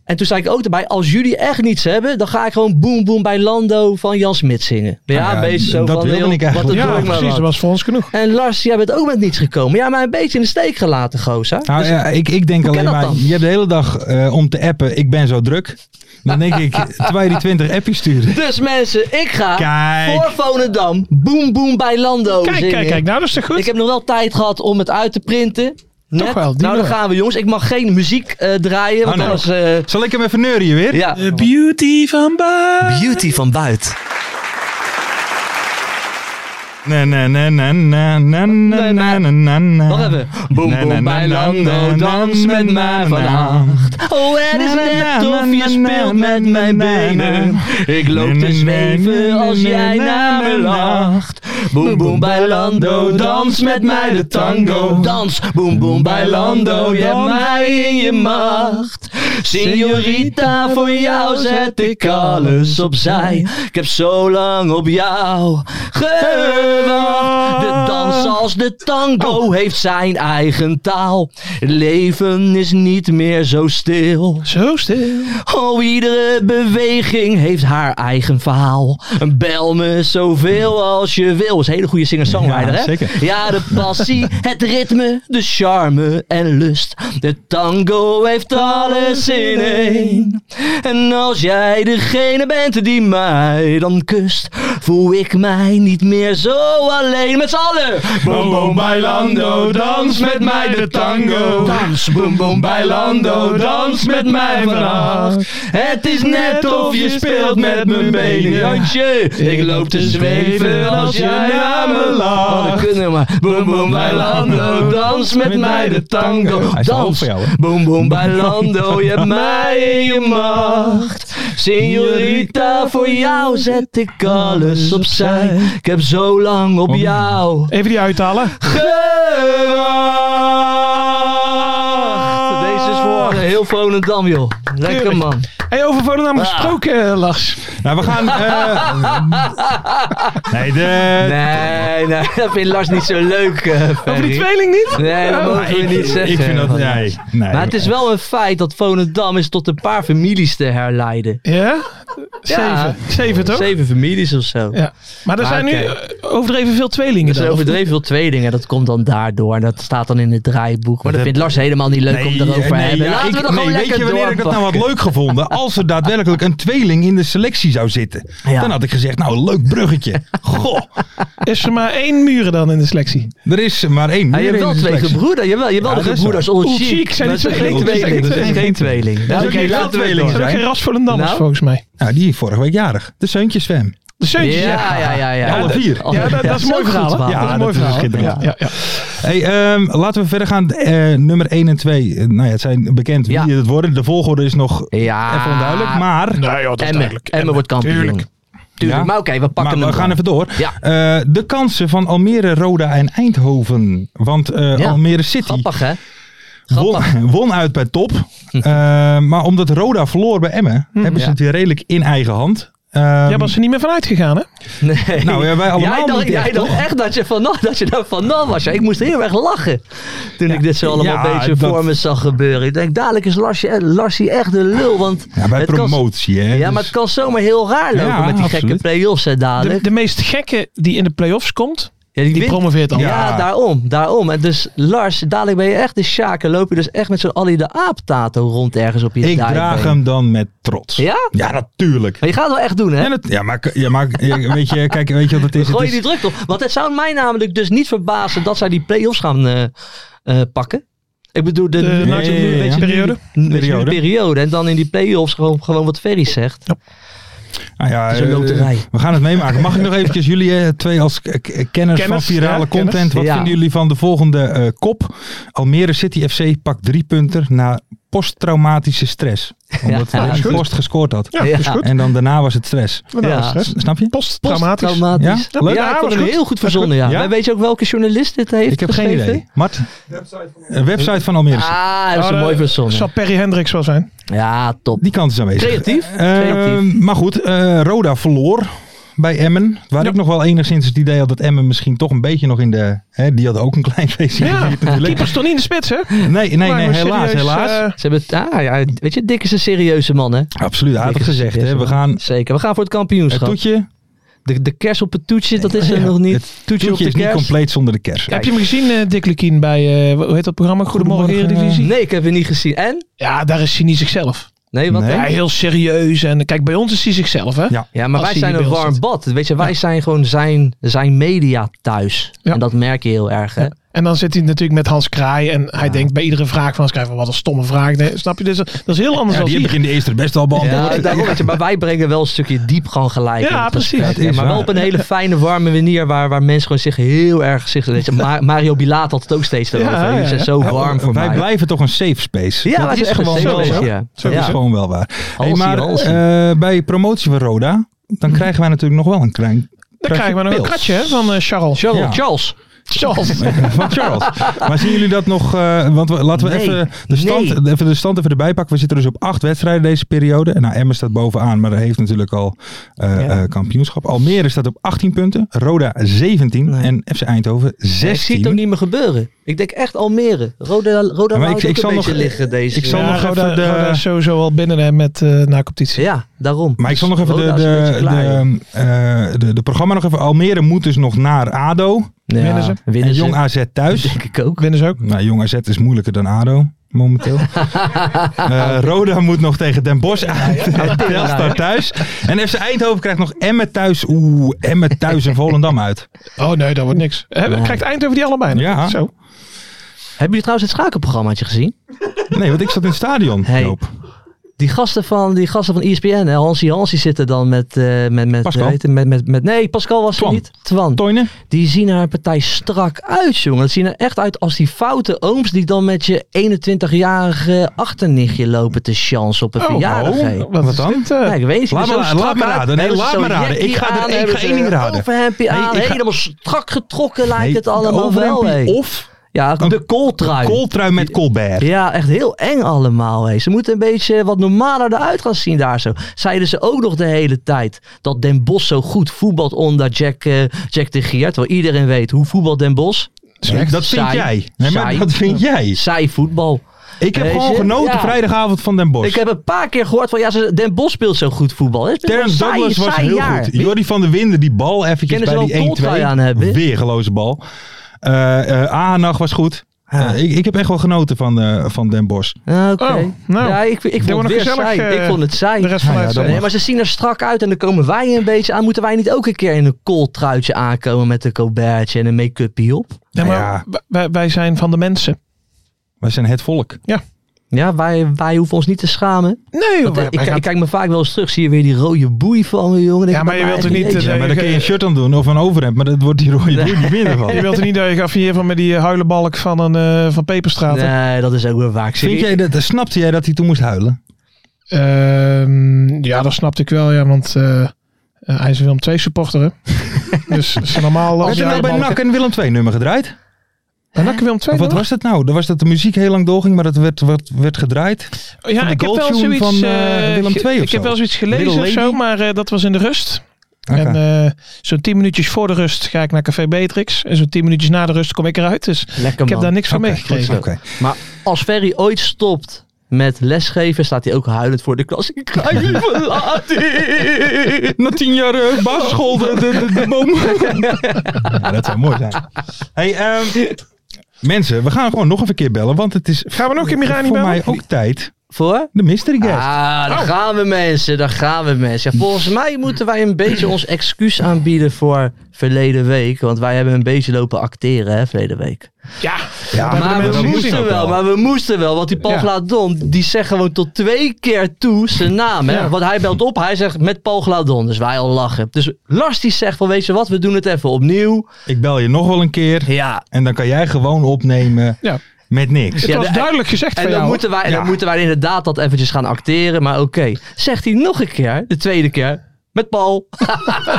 S4: En toen zei ik ook erbij, als jullie echt niets hebben, dan ga ik gewoon Boom Boom bij Lando van Jan Smit zingen. Ja,
S3: Ah,
S2: ja,
S4: bezig zo
S2: dat
S4: van,
S2: wilde
S4: joh,
S2: ik eigenlijk.
S4: Wat een
S3: ja,
S4: druk, maar
S3: precies. Dat
S4: wat.
S3: was voor ons genoeg.
S4: En Lars, jij bent ook met niets gekomen. Ja, maar een beetje in de steek gelaten, gozer.
S2: Nou,
S3: Ah,
S4: Dus-
S2: ja, ik, ik denk
S4: Hoe
S2: alleen
S4: kan dat
S2: maar,
S4: dan?
S2: je hebt de hele dag eh, om te appen, ik ben zo druk. Dan denk ik, terwijl je die 20 appjes sturen.
S4: Dus mensen, ik ga
S2: Kijk.
S4: voor Volendam Boom Boom bij Lando
S3: Kijk,
S4: zingen.
S3: kijk, kijk. Nou, dat is toch goed?
S4: Ik heb nog wel tijd gehad om het uit te printen. Net.
S3: wel, die
S4: nou, dan
S3: wel.
S4: gaan we jongens. Ik mag geen muziek eh, draaien, want
S2: Oh, nee.
S4: anders... eh,
S2: Zal ik hem even neuren hier weer?
S4: ja.
S3: beauty van Baar.
S4: Beauty van buiten.
S2: Nee, nee, nee, nee, nee, nee, nee, nee, nee, nee, nee.
S4: Nog even. Boom
S2: Nee, nee,
S4: boom bij
S2: nee,
S4: Lando,
S2: nee,
S4: dans
S2: nee,
S4: met
S2: nee,
S4: mij
S2: nee,
S4: vannacht. Oh, het is
S2: Nee, nee,
S4: net
S2: nee,
S4: of
S2: nee,
S4: je speelt
S2: nee,
S4: met
S2: nee,
S4: mijn
S2: nee,
S4: benen. Ik loop
S2: Nee, nee,
S4: te
S2: nee,
S4: zweven als
S2: nee,
S4: jij
S2: nee,
S4: naar
S2: nee,
S4: me
S2: nee.
S4: lacht. Boom boom bij Lando, dans met mij de tango. Dans, boom boom bij Lando, je hebt mij in je macht. Signorita, voor jou zet ik alles opzij. Ik heb zo lang op jou gewacht. De dans als de tango heeft zijn eigen taal. Het leven is niet meer zo stil.
S3: Zo stil.
S4: Oh, iedere beweging heeft haar eigen verhaal. Bel me zoveel als je Wil is een hele goede singer-songwriter.
S2: Ja,
S4: hè?
S2: zeker.
S4: Ja, de passie, het ritme, de charme en lust. De tango heeft alles in één. En als jij degene bent die mij dan kust, voel ik mij niet meer zo alleen met z'n allen. Boom, boom, bailando, dans met mij de tango. Dans, boom, boom, bailando, dans met mij vannacht. Het is net of je speelt met mijn benen. Jantje, ik loop te zweven als jij naar me lacht. Oh, dat kunnen we maar. Boom, boom, bailando, dans met mij de tango.
S2: Hij is hoog
S4: Dans,
S2: voor jou, hè?
S4: boom, boom, bailando, oh, je hebt mij in je macht. Signorita, voor jou zet ik alles opzij. Ik heb zo lang op jou
S3: Even die uithalen.
S4: gewacht. Deze is voor eh, heel Volendam, joh. Lekker
S3: Tuurlijk.
S4: man.
S3: Hey, over Volendam gesproken, eh, Lars.
S2: Nou, we gaan... eh, nee, de...
S4: Nee, nee, dat vindt Lars niet zo leuk, eh,
S3: Over
S4: Ferry.
S3: die tweeling niet?
S4: Nee, dat
S2: Maar
S4: mogen we
S2: ik,
S4: niet zeggen.
S2: ik vind dat...
S4: man.
S2: Nee, nee.
S4: Maar het is wel een feit dat Volendam is tot een paar families te herleiden.
S3: Ja? Zeven.
S4: Ja.
S3: Zeven, toch?
S4: Zeven families of zo.
S3: Ja. Maar er
S4: Maar
S3: zijn nu
S4: oké.
S3: eh, overdreven veel tweelingen
S4: Er zijn
S3: dan, of
S4: overdreven veel tweelingen, dat komt dan daardoor. Dat staat dan in het draaiboek. Maar dat
S2: Dat-
S4: vindt Lars helemaal niet leuk om erover te
S2: nee,
S4: hebben.
S2: ja,
S4: Laten we
S2: ik-
S4: er
S2: nee,
S4: gewoon lekker
S2: Weet je wanneer ik dat nou had
S4: doorpakken.
S2: leuk gevonden? Als er daadwerkelijk een tweeling in de selectie zou zitten.
S4: Ja.
S2: Dan had ik gezegd, nou leuk bruggetje. Goh,
S3: niet? Is er maar één muren dan in de selectie?
S2: er is maar één
S4: Ah, je
S2: meer
S4: hebt
S2: in
S4: wel
S2: de
S4: twee
S2: selectie.
S4: gebroeders. Je hebt wel, je hebt wel
S2: Ja,
S4: de
S2: dat is
S4: gebroeders
S2: zo.
S4: Old
S3: Old
S4: Chic.
S3: Chic zijn
S4: Maar
S3: niet
S4: dat is
S3: zo
S4: geen
S3: gek.
S4: tweeling. Dat is geen tweeling.
S2: Dat is
S4: Ja,
S2: ook
S4: oké,
S2: niet veel
S4: laten we het
S2: tweelingen
S3: Er
S4: door.
S3: zijn
S2: Zijn-
S3: geen ras Volendammers,
S4: Nou?
S3: volgens mij.
S2: Nou, die is vorige week jarig. De zeuntjes Sven.
S3: De Seuntjes,
S4: Ja, ja, ja. ja.
S2: Alle vier.
S3: Ja, dat, dat is een mooi
S4: ook
S3: verhaal.
S4: goed,
S3: hè?
S4: man.
S2: Ja,
S3: dat is een mooi
S2: dat is
S3: verhaal.
S2: schitterend.
S3: Ja, ja,
S2: Hey, ehm, laten we verder gaan. Eh, nummer 1 en 2. Eh, nou ja, het zijn bekend
S4: Ja.
S2: wie het worden. De volgorde is nog
S4: Ja.
S2: even onduidelijk. Maar,
S3: ja. ja
S4: Emmen. Emmen wordt kampioen. Tuurlijk.
S2: Ja.
S4: Maar oké, we pakken
S2: maar
S4: hem.
S2: we gaan
S4: dan.
S2: even door.
S4: Ja.
S2: Eh, de kansen van Almere, Roda en Eindhoven. Want eh,
S4: Ja.
S2: Almere City
S4: Grappig, hè?
S2: won, won uit bij top. Eh, maar omdat Roda verloor bij Emmen, hebben ze
S4: Hm. Ja.
S2: het weer redelijk in eigen hand. Ehm,
S3: Jij was er niet meer van uitgegaan, hè?
S4: Nee.
S2: Nou ja, wij allemaal
S4: Jij dacht,
S2: niet echt,
S4: jij dacht
S2: toch?
S4: echt dat je, vanaf, dat je daar vanaf was. Ja, ik moest heel erg lachen toen ik dit zo allemaal
S2: ja,
S4: een beetje
S2: dat-
S4: voor me zag gebeuren. Ik denk, dadelijk is Larsie, Larsie echt een lul. Want
S2: ja, bij
S4: het kan-
S2: promotie, hè.
S4: ja, maar
S2: Dus-
S4: het kan zomaar heel raar lopen
S2: Ja,
S4: met die gekke
S2: absoluut.
S4: play-offs hè,
S3: De,
S4: dadelijk.
S3: de meest gekke die in de play-offs komt,
S4: ja,
S3: die
S4: Ah, wint-
S3: promoveert al.
S4: ja,
S2: Ja.
S4: daarom, daarom. En dus Lars, dadelijk ben je echt de Sjaak en loop je dus echt met zo'n Ali de Aap-tato rond ergens op je
S2: ik
S4: dijbeen.
S2: draag hem dan met trots.
S4: Ja?
S2: Ja, natuurlijk.
S4: Maar je gaat het wel echt doen, hè?
S2: Ja, dat- ja, maar, ja, maar eh, weet, je, kijk, weet je wat het is? Het
S4: Gooi
S2: is-
S4: je die druk op. Want het zou mij namelijk dus niet verbazen dat zij die play-offs gaan eh, eh, pakken. Ik bedoel, de,
S3: eh, De
S4: weet je
S3: Nacho-
S4: nu- weet je nu-
S3: periode?
S4: weet je nu de
S2: Periode.
S4: periode. En dan in die play-offs gewoon, gewoon wat Ferry zegt.
S2: Nou ja,
S4: Het is een
S2: eh,
S4: loterij.
S2: We gaan het meemaken. Mag ik nog eventjes jullie eh, twee als eh, k- eh, kenners van
S3: Kenners,
S2: virale
S3: ja,
S2: content.
S3: kenners.
S2: Wat
S4: Ja.
S2: vinden jullie van de volgende eh, kop? Almere City FC pakt drie punten na posttraumatische stress. Omdat
S4: Ja,
S2: Danny
S4: is goed.
S2: Post gescoord had.
S3: Ja, dat is
S4: Ja.
S3: goed.
S2: En dan daarna was het stress.
S3: Nou,
S4: Ja.
S3: dat is
S2: S-
S3: het.
S2: Snap je?
S3: Posttraumatisch.
S4: Traumatisch.
S2: Ja?
S4: Ja,
S2: Leuk.
S3: Ja,
S4: ik
S3: was
S4: vond hem
S3: goed.
S4: heel goed verzonnen. Ja.
S2: Ja?
S4: Maar Weet je ook welke journalist dit heeft
S2: Ik heb geen
S4: geschreven?
S2: idee. Mart? Een website van Almere City.
S4: Ah, dat is een
S3: Nou,
S4: mooi
S3: dat
S4: verzonnen.
S3: Zal Perry Hendricks wel zijn.
S4: Ja, top.
S2: Die kans is aanwezig.
S4: Creatief.
S2: Eh,
S4: Creatief.
S2: Maar goed, eh, Roda verloor bij Emmen. Waar ik nog wel enigszins het idee had dat Emmen misschien toch een beetje nog in de... Hè, die had ook een klein feestje.
S3: Ja,
S2: gevierd natuurlijk.
S3: keeper stond niet in de spits, hè?
S2: Nee, nee, nee,
S3: Maar
S2: helaas,
S3: serieus,
S2: helaas.
S3: eh,
S4: Ze hebben, ah, ja, weet je, Dick is een serieuze man, hè?
S2: Absoluut, hij had het
S4: Dick is een
S2: gezegd. Hè.
S4: serieuze
S2: We
S4: man.
S2: gaan
S4: Zeker, we gaan voor het
S2: het
S4: kampioenschap.
S2: toetje.
S4: De, de kers op het toetje, dat is er nog niet.
S2: Het
S4: toetje,
S2: toetje
S4: op
S2: is
S4: de
S2: niet
S4: kers.
S2: compleet zonder de kers.
S3: Heb je hem gezien, eh, Dick Lukien, bij, eh, hoe heet dat programma? Goedemorgen,
S2: Goedemorgen, eh.
S4: eh,
S3: Eredivisie.
S4: Nee, ik heb het niet gezien. En?
S3: Ja, daar is hij niet zichzelf.
S4: Nee, wat
S2: Nee.
S3: Ja,
S4: dan?
S3: heel serieus. En kijk, bij ons is hij zichzelf, hè?
S2: Ja.
S4: Ja, maar wij
S3: Als hij
S4: zijn
S3: in
S4: een
S3: beeld
S4: warm
S3: zit.
S4: bad. Weet je, wij zijn gewoon zijn, zijn media thuis.
S3: Ja.
S4: En dat merk je heel erg, hè?
S3: Ja. En dan zit hij natuurlijk met Hans Kraai. En hij denkt bij iedere vraag van Hans Kraai van wat een stomme vraag. Nee, snap je? Dus dat dat is heel anders
S2: Ja,
S3: dan
S2: die heb
S3: hier.
S2: ik in de eerste best al beantwoord.
S4: Ja, daarom, weet je, maar wij brengen wel een stukje diepgang gelijk.
S3: Ja,
S4: in het
S3: precies.
S4: gesprek,
S2: Dat
S4: hè.
S2: is
S4: maar wel
S2: waar.
S4: op een hele fijne, warme manier waar, waar mensen gewoon zich heel erg zich. Weet je, Ma- Mario Bilaat had het ook steeds erover.
S3: Ja,
S4: Jullie
S3: ja,
S4: zijn
S3: ja.
S4: zo warm voor
S2: Wij
S4: mij.
S2: blijven toch een safe space.
S4: ja,
S2: dat
S4: wij zijn echt een
S2: wel
S4: safe
S2: zo.
S4: space, ja.
S2: Dat
S4: Ja.
S2: is gewoon wel waar. Hey,
S4: Halsie,
S2: maar
S4: halsie.
S2: eh, bij promotie van Roda, dan krijgen wij natuurlijk nog wel een klein...
S3: Dan krijgen we nog een
S2: pils.
S3: kratje hè, van eh, Charles.
S4: Charles,
S2: Ja.
S4: Charles.
S3: Charles.
S2: van Charles. Maar zien jullie dat nog? eh, want we- laten we
S4: Nee,
S2: even, de stand, even de stand even erbij pakken. We zitten dus op acht wedstrijden deze periode. En nou, Emmen staat bovenaan, maar heeft natuurlijk al eh,
S4: Ja.
S2: eh, kampioenschap. Almere staat op 18 punten, Roda 17
S4: Nee.
S2: en FC Eindhoven 16.
S4: Ik zie het ook niet meer gebeuren. Ik denk echt Almere. Roda,
S2: Ja,
S4: Roda
S2: maar
S4: houdt
S2: ik-
S4: ook
S2: ik
S4: een
S2: zal
S4: beetje
S2: nog-
S4: liggen deze.
S2: ik zal
S3: Ja,
S2: nog
S3: Roda,
S2: even de-
S3: Roda is sowieso al binnen hè, met eh na competitie.
S4: Ja, daarom.
S2: Maar ik zal nog even de,
S4: Roda is een
S2: de,
S4: beetje klaar, joh.
S2: de, eh, de, de programma nog even. Almere moet dus nog naar ADO.
S4: Ja,
S3: winnen ze.
S4: Winnen
S2: en
S4: ze.
S2: Jong AZ thuis.
S4: Denk ik ook.
S3: Winnen ze ook?
S2: Nou, Jong AZ is moeilijker dan ADO momenteel. Eh, Roda moet nog tegen Den Bosch uit. en Telstar thuis. En FC Eindhoven krijgt nog Emmen thuis. Oeh, Emmen thuis en Volendam uit.
S3: Oh nee, dat wordt niks. Hè, Krijgt Eindhoven die allebei? nog?
S2: Ja.
S3: Zo.
S4: Hebben jullie trouwens het schakelprogrammaatje gezien?
S2: Nee, want ik zat in het stadion,
S4: Hey.
S2: Joop.
S4: Die gasten van, die gasten van E ESPN, hè, Hansie Hansie zitten dan met, eh, met, met,
S2: Pascal.
S4: weet je, met, met, met... Nee, Pascal was
S2: Twan.
S4: er niet. Twan.
S2: Toinen?
S4: Die zien haar partij strak uit, jongen. Dat zien er echt uit als die foute ooms die dan met je 21-jarige achternichtje lopen te chansen op een verjaardag. hé.
S3: wat,
S2: Oh, Wat
S3: is
S2: dan?
S3: dit, eh?
S4: Kijk, weet je,
S2: Laat
S4: zo
S2: me ra-
S4: strak
S2: laat me
S4: uit.
S2: raden. Nee,
S4: Hebben ze
S2: laat me
S4: zo'n
S2: raden.
S4: jackie
S2: Ik ga er-
S4: aan,
S2: ik
S4: hebben
S2: ga
S4: ze
S2: één ding raden.
S4: Overhempje
S2: Nee,
S4: aan,
S2: ik ga-
S4: helemaal strak getrokken lijkt
S2: Nee,
S4: het allemaal wel.
S2: overhempje
S4: hé.
S2: Of
S4: Ja,
S2: een
S4: de kooltrui.
S2: kooltrui met Colbert.
S4: Ja, echt heel eng allemaal. Hé. Ze moeten een beetje wat normaler eruit gaan zien daar zo. Zeiden ze ook nog de hele tijd dat Den Bos zo goed voetbalt onder Jack, eh, Jack de Gier. Terwijl iedereen weet hoe voetbalt Den Bos.
S2: Nee, dat vind
S4: Saai.
S2: jij. Nee, maar
S4: Saai.
S2: dat vind jij.
S4: Zij voetbal.
S2: Ik heb
S4: Weet
S2: gewoon
S4: je?
S2: genoten
S4: Ja.
S2: vrijdagavond van Den Bosch.
S4: Ik heb een paar keer gehoord van ja, ze- Den Bos speelt zo goed voetbal. Het is een
S2: Terence
S4: saai-
S2: Douglas was
S4: saai
S2: heel
S4: jaar.
S2: goed. Jordi van der Winden, die bal eventjes
S4: Kennen
S2: bij
S4: ze wel een
S2: die 1-2.
S4: kooltrui aan hebben?
S2: Weergeloze bal. Eh eh Ahanag was goed. Eh, ik, ik heb echt wel genoten van, eh, van Den Bosch.
S4: Ah, Oké.
S3: Oh, nou.
S4: ja, ik, ik
S3: we
S4: vond
S3: nog
S4: het weer
S3: gezellig,
S4: saai.
S3: eh,
S4: ik vond het saai.
S3: De rest van
S2: Ja, ja,
S3: de
S2: dat
S3: ja,
S4: Nee, maar ze zien er strak uit en dan komen wij een beetje aan. Moeten wij niet ook een keer in een kooltruitje aankomen met een colbertje en een make-upje op?
S3: ja, maar
S2: Nou Ja.
S3: w- Wij, wij zijn van de mensen.
S2: Wij zijn het volk.
S4: Ja, wij, wij hoeven ons niet te schamen.
S3: Nee,
S4: Want, eh, ik,
S3: Oh, wij
S4: kijk-
S3: gaan-
S4: ik kijk me vaak wel eens terug. Zie je weer die rode boei van me, jongen. Denk
S3: Ja,
S4: ik,
S3: maar
S4: dat
S3: je
S4: wij
S3: wilt er
S4: echt
S3: niet,
S4: eens-
S3: eh,
S2: Ja, maar daar kun je een shirt aan doen of een overhemd. Maar dat wordt die rode boer niet minder van.
S3: je wilt er niet dat je geaffieerd wordt met die eh, huilenbalk van, een, eh, van Peperstraat. hè?
S4: Nee, dat is ook weer vaak.
S2: Vind jij dat, snapte jij dat hij toen moest huilen?
S3: Ehm, ja, dat snapte ik wel, ja, want eh, eh, hij is een Willem II supporter, hè? dus dat is normaal als
S2: Had
S3: je
S2: hij nou bij NAC en Willem II nummer gedraaid?
S3: Bij NAC en Willem II
S2: Of wat
S3: nummer?
S2: was dat nou? Dan was dat de muziek heel lang doorging, maar dat werd, werd, werd gedraaid. van
S3: Ja,
S2: de
S3: ik heb wel
S2: goaltune
S3: zoiets,
S2: van,
S3: eh,
S2: eh, Willem
S3: ge-
S2: II of
S3: Ik
S2: zo?
S3: heb wel zoiets
S2: Little
S3: gelezen of zo,
S2: Lady?
S3: maar eh, dat was in de rust.
S2: Oké.
S3: En eh, zo'n tien minuutjes voor de rust ga ik naar Café Beatrix. En zo'n tien minuutjes na de rust kom ik eruit. Dus
S4: Lekker,
S3: ik heb
S4: man.
S3: daar niks van
S2: Oké,
S3: meegekregen.
S2: Oké.
S4: Maar als Ferry ooit stopt met lesgeven, staat hij ook huilend voor de klas. Ik ga je verlaten.
S2: Na tien jaar eh, basisschool, de, de, de, de boom. ja, dat zou mooi zijn. Hey, ehm, mensen, we gaan gewoon nog even een keer bellen. Want het is
S3: Gaan we nog in Mirani
S2: voor
S3: bellen?
S2: mij ook tijd.
S4: Voor?
S2: De mystery guest.
S4: Ah, daar gaan we mensen, daar gaan we mensen. Ja, volgens mij moeten wij een beetje ons excuus aanbieden voor verleden week. Want wij hebben een beetje lopen acteren, hè, verleden week.
S3: Ja,
S2: Ja,
S3: Ah, hebben de
S4: Maar
S3: mensen
S4: we
S3: niet
S2: gezien
S4: moesten
S2: ook
S4: wel,
S2: al.
S4: maar we moesten wel. Want die Paul
S3: Ja.
S4: Gladon, die zegt gewoon tot twee keer toe zijn naam. Hè?
S3: Ja.
S4: Want hij belt op, hij zegt met Paul Gladon. Dus wij al lachen. Dus Lars die zegt van, weet je wat, we doen het even opnieuw.
S2: Ik bel je nog wel een keer.
S4: Ja,
S2: En dan kan jij gewoon opnemen
S3: Ja.
S2: met niks.
S3: het
S4: Ja,
S3: was
S4: de-
S3: duidelijk gezegd
S4: En
S3: van
S4: dan,
S3: jou.
S4: moeten
S2: Ja.
S4: wij, dan moeten wij inderdaad dat eventjes gaan acteren. Maar oké, zegt hij nog een keer, de tweede keer, met Paul.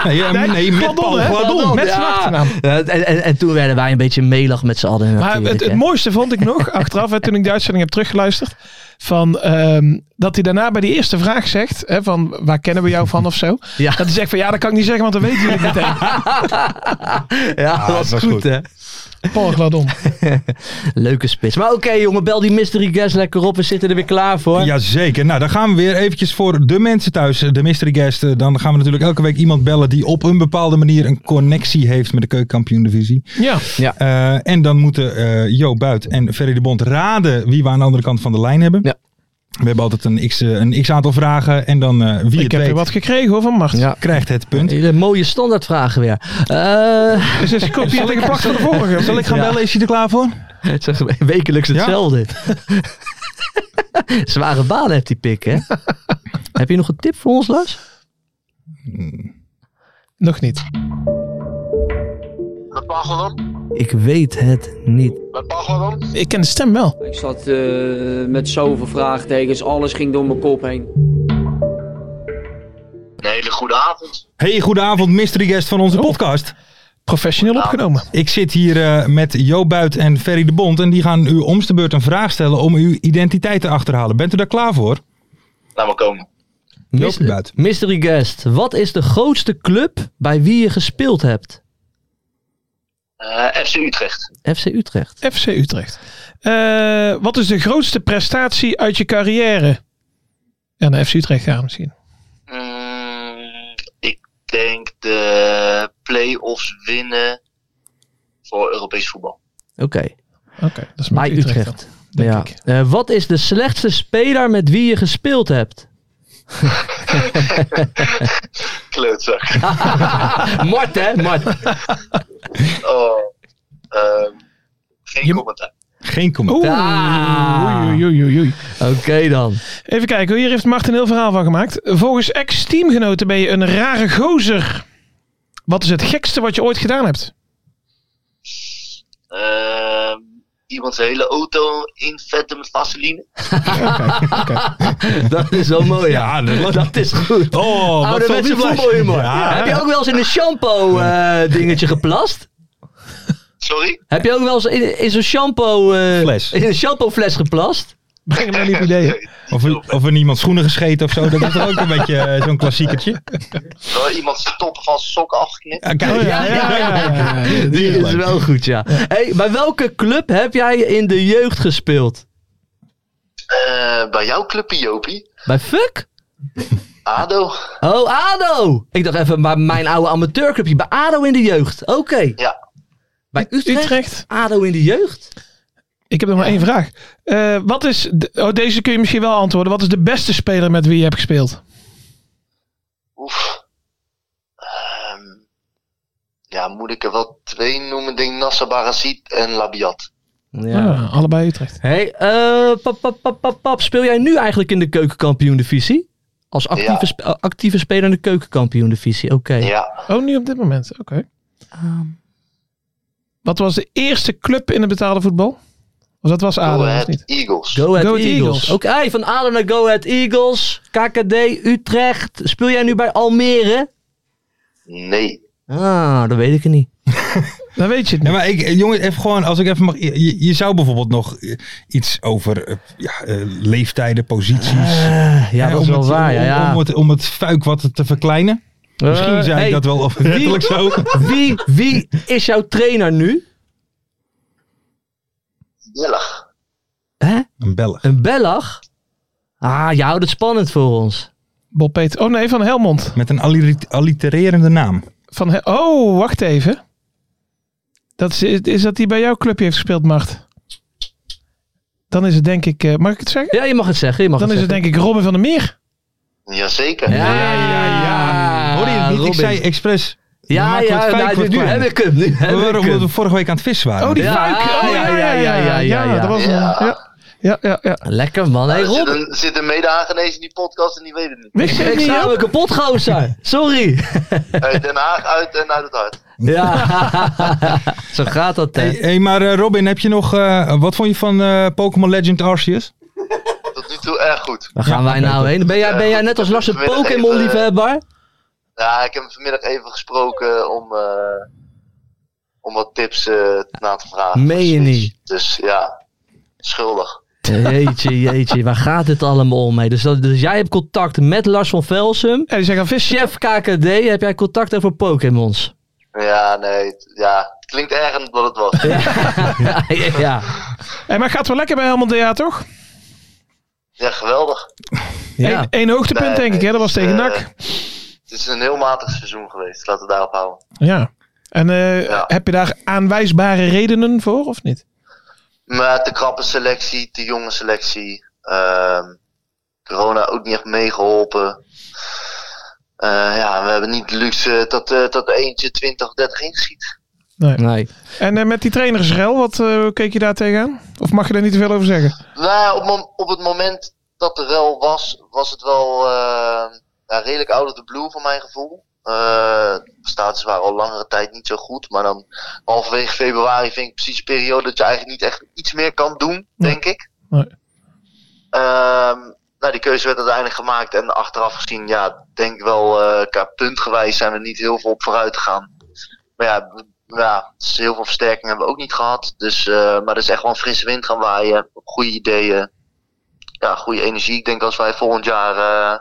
S2: Nee,
S3: Nee,
S2: nee, met
S3: Gladon,
S2: Paul
S3: hè?
S2: Gladon.
S3: met zijn achternaam.
S4: Oh, Ja, en, en, en toen werden wij een beetje meelig met z'n allen.
S3: Maar
S4: natuurlijk,
S3: het, het
S4: hè.
S3: mooiste vond ik nog, achteraf, hè, toen ik de uitzending heb teruggeluisterd, van, ehm, dat hij daarna bij die eerste vraag zegt, hè, van waar kennen we jou van of zo.
S4: Ja.
S3: Dat hij zegt van ja, dat kan ik niet zeggen, want dan weten jullie het meteen.
S4: ja, Ah, dat was,
S2: was
S4: goed,
S2: goed.
S4: hè.
S3: Paul Gladon.
S4: Leuke spits. Maar oké, jongen, bel die mystery guest lekker op. We zitten er weer klaar voor.
S2: Jazeker. Nou, dan gaan we weer eventjes voor de mensen thuis, de mystery guest. eh, Dan gaan we natuurlijk elke week iemand bellen die op een bepaalde manier een connectie heeft met de keukenkampioen divisie.
S3: Ja.
S2: Eh, en dan moeten eh Jo Buit en Ferry de Bond raden wie we aan de andere kant van de lijn hebben.
S4: Ja.
S2: We hebben altijd een x, eh, een x aantal vragen en dan eh, wie
S3: Ik
S2: het
S3: heb
S2: weet
S3: weer wat gekregen hoor, van Mart.
S4: Ja.
S2: krijgt het punt.
S4: Hele mooie standaardvragen weer. Eh,
S3: Dus is kopie gepakt van de vorige.
S2: Zal ik gaan
S4: Ja.
S2: bellen? Is hij er klaar voor?
S4: het is echt wekelijks hetzelfde. Zware baan heeft die pik, hè? Heb je nog een tip voor ons, Lars?
S3: Nog niet.
S5: Met Pagladon?
S4: Ik weet het niet.
S5: Met Pagladon?
S3: Ik ken de stem wel.
S6: Ik zat eh, met zoveel vraagtekens, alles ging door mijn kop heen.
S5: Een hele goede avond.
S2: Hey, goedenavond, mystery guest van onze podcast.
S3: professioneel opgenomen.
S2: Ik zit hier eh, met Jo Buit en Ferry de Bond. En die gaan u om de beurt een vraag stellen om uw identiteit te achterhalen. Bent u daar klaar voor?
S5: Laat maar komen.
S2: Joopie Buit.
S4: Mystery guest, wat is de grootste club bij wie je gespeeld hebt?
S5: Eh, FC Utrecht.
S4: FC Utrecht.
S3: FC Utrecht. Eh, wat is de grootste prestatie uit je carrière? Ja, naar FC Utrecht gaan misschien.
S5: Mm, ik denk de play-offs winnen voor Europees voetbal.
S4: Oké,
S3: Oké, dat is met
S4: bij Utrecht.
S3: Utrecht. dan, denk
S4: ja.
S3: ik.
S4: Eh, wat is de slechtste speler met wie je gespeeld hebt?
S5: Kleutzak.
S4: Mart, hè? Mart.
S5: Oh, ehm, geen
S3: Je-
S5: commentaar.
S2: Geen commentaar.
S4: Ah.
S3: Oeh, oei, oei, oei, oei.
S4: Oké dan.
S3: Even kijken, hier heeft Martin een heel verhaal van gemaakt. Volgens ex-teamgenoten ben je een rare gozer. Wat is het gekste wat je ooit gedaan hebt?
S5: Ehm, iemand zijn hele auto invetten met vaseline.
S4: Dat is wel mooi, ja.
S2: Ja, dat was-
S4: Dat is goed.
S2: Oh, wat
S4: Ouderwetse
S2: voetbal-
S4: voetbalhumor.
S2: Ja.
S4: Heb je ook wel eens in een shampoo eh, dingetje geplast?
S5: Sorry?
S4: Heb je ook wel eens in, in zo'n shampoo... eh,
S2: Fles.
S4: In een shampoofles geplast?
S3: Breng hem nou niet op ideeën.
S2: Of, of er niemand schoenen gescheten of zo. Dat is toch ook een beetje eh, zo'n klassiekertje.
S5: Wel iemand zijn top van zijn sokken afgeknipt.
S2: Ah,
S4: Oh,
S2: kijk.
S4: Die,
S2: is
S4: is,
S2: leuk.
S4: wel goed, ja. Hey, bij welke club heb jij in de jeugd gespeeld?
S5: Eh, bij jouw clubje, Jopie.
S4: Bij Fuck?
S5: ADO.
S4: Oh, ADO! Ik dacht even, maar mijn oude amateurclubje. Bij ADO in de jeugd. Oké.
S5: Ja.
S4: Bij Utrecht?
S3: Utrecht,
S4: ADO in de jeugd?
S3: ik heb nog maar één vraag. Eh, wat is, de- oh, deze kun je misschien wel antwoorden. Wat is de beste speler met wie je hebt gespeeld?
S5: Oef. Ehm, ja, moet ik er wel twee noemen? Ding Nasser Barazit en Labiat.
S4: Ja.
S3: Ah, allebei Utrecht.
S4: Hey, eh, pap, pap, pap, pap, pap, speel jij nu eigenlijk in de keukenkampioen-divisie? Als actieve,
S5: Ja.
S4: sp- eh, actieve speler in de keukenkampioen-divisie, oké.
S5: Ja.
S3: Oh, nu op dit moment. Oké. Wat was de eerste club in het betaalde voetbal? Of dat was
S4: Ah,
S5: Go
S3: ADO, of
S5: Ahead
S3: niet?
S5: Eagles.
S4: Go Ahead
S3: Go Ahead
S4: Eagles.
S3: Eagles.
S4: Oké, hey, van ADO naar Go Ahead Eagles, KKD, Utrecht. Speel jij nu bij Almere?
S5: Nee.
S4: Ah, dat weet ik niet.
S3: Dan weet je het
S2: Ja,
S3: niet.
S2: maar ik, eh, jongens, even gewoon, als ik even mag. Je, je- je zou bijvoorbeeld nog eh, iets over eh, ja, eh, leeftijden, posities.
S4: Eh, ja,
S2: hè,
S4: dat
S2: om
S4: is wel
S2: het-
S4: waar, ja.
S2: om-
S4: ja.
S2: Om, het, om het fuik wat te verkleinen. Misschien
S4: Eh,
S2: zei
S4: hey,
S2: ik dat wel of letterlijk zo.
S4: Wie, wie is jouw trainer nu?
S5: Belg.
S4: Hè?
S2: Een Belg.
S4: Een Bellag? Ah, je houdt het spannend voor ons.
S3: Bob Peter. Oh nee, van Helmond.
S2: Met een alliter- allitererende naam.
S3: Van Hel- oh, wacht even. Dat is, is dat die bij jouw clubje heeft gespeeld, Mart? Dan is het denk ik... eh, mag ik het zeggen?
S4: Ja, je mag het zeggen, je mag
S3: Dan is
S4: het
S3: het
S4: zeggen.
S3: denk ik Robin van der Meer.
S5: Jazeker.
S2: Hoorde je het niet? Ik
S4: Robin.
S2: zei expres. Dan
S4: Ja,
S2: maken we het
S4: ja,
S2: fijn
S4: nou,
S2: voor het
S4: nu
S2: klein.
S4: heb ik hem. Nu heb
S2: We waren
S4: ik
S2: omdat we
S4: hem.
S2: vorige week aan het vissen waren.
S3: Oh, die
S4: Ja,
S3: fuik. Oh, ja, ja, ja, ja,
S4: ja.
S3: dat was hem.
S5: Ja.
S3: ja. Ja, ja, ja.
S4: Lekker man. Hey
S5: Er zit
S4: Rob,
S5: een, zit een mede-Hagenees in die podcast en die weet het niet.
S3: Wist je het
S4: ik
S3: niet,
S4: zou
S3: Joop?
S4: me kapot gozer. Sorry.
S5: Uit Den Haag uit en uit het hart.
S4: Ja, zo gaat dat
S2: Hey,
S4: hè.
S2: hey, maar eh, Robin, heb je nog. eh, wat vond je van eh, Pokémon Legend Arceus?
S5: Tot nu toe erg goed.
S4: Waar gaan wij nou heen? Ben jij, ben jij net als Lars een
S5: Vanmiddag even-
S4: Pokémon-liefhebber?
S5: Ja, ik heb hem vanmiddag even gesproken om, eh, om wat tips eh, na te vragen.
S4: Meen je niet?
S5: Dus ja, schuldig.
S4: Jeetje, jeetje. Waar gaat dit allemaal om? Mee? Dus, dat, dus jij hebt contact met Lars van Velsum.
S3: Ja, die zeggen vissen.
S4: Chef KKD, heb jij contact over Pokémons?
S5: Ja, nee. het- Ja, het klinkt erger dan het was.
S4: Ja, ja.
S3: Hey, maar gaat wel lekker bij Helmond DA, toch?
S5: Ja, geweldig.
S4: ja.
S3: Eén, één hoogtepunt,
S5: Nee,
S3: denk ik. Hè? Dat was
S5: het is,
S3: tegen
S5: eh,
S3: NAC.
S5: Het is een heel matig seizoen geweest. Laten we daarop houden.
S3: Ja. En eh,
S5: Ja.
S3: heb je daar aanwijsbare redenen voor, of niet?
S5: Maar te krappe selectie, te jonge selectie. ehm, corona ook niet echt meegeholpen. Eh, ja, we hebben niet de luxe dat, eh dat er eentje 20 of 30 inschiet.
S4: Nee.
S3: En eh, met die trainersrel, wat eh, keek je daar tegenaan? Of mag je daar niet te veel over zeggen?
S5: Nou, ja, op, mom- op het moment dat er wel was, was het wel eh, ja, redelijk out of the blue van mijn gevoel. Eh status waren al langere tijd niet zo goed. Maar dan halverwege februari vind ik precies een periode dat je eigenlijk niet echt iets meer kan doen,
S3: Nee.
S5: denk ik.
S3: Nee.
S5: Ehm, nou, die keuze werd uiteindelijk gemaakt. En achteraf gezien, ja, denk ik wel, eh qua puntgewijs zijn we niet heel veel op vooruit gegaan. Maar ja, ja, dus heel veel versterking hebben we ook niet gehad. Dus, eh, maar er is echt wel een frisse wind gaan waaien. Goede ideeën. Ja, goede energie. Ik denk als wij volgend jaar eh,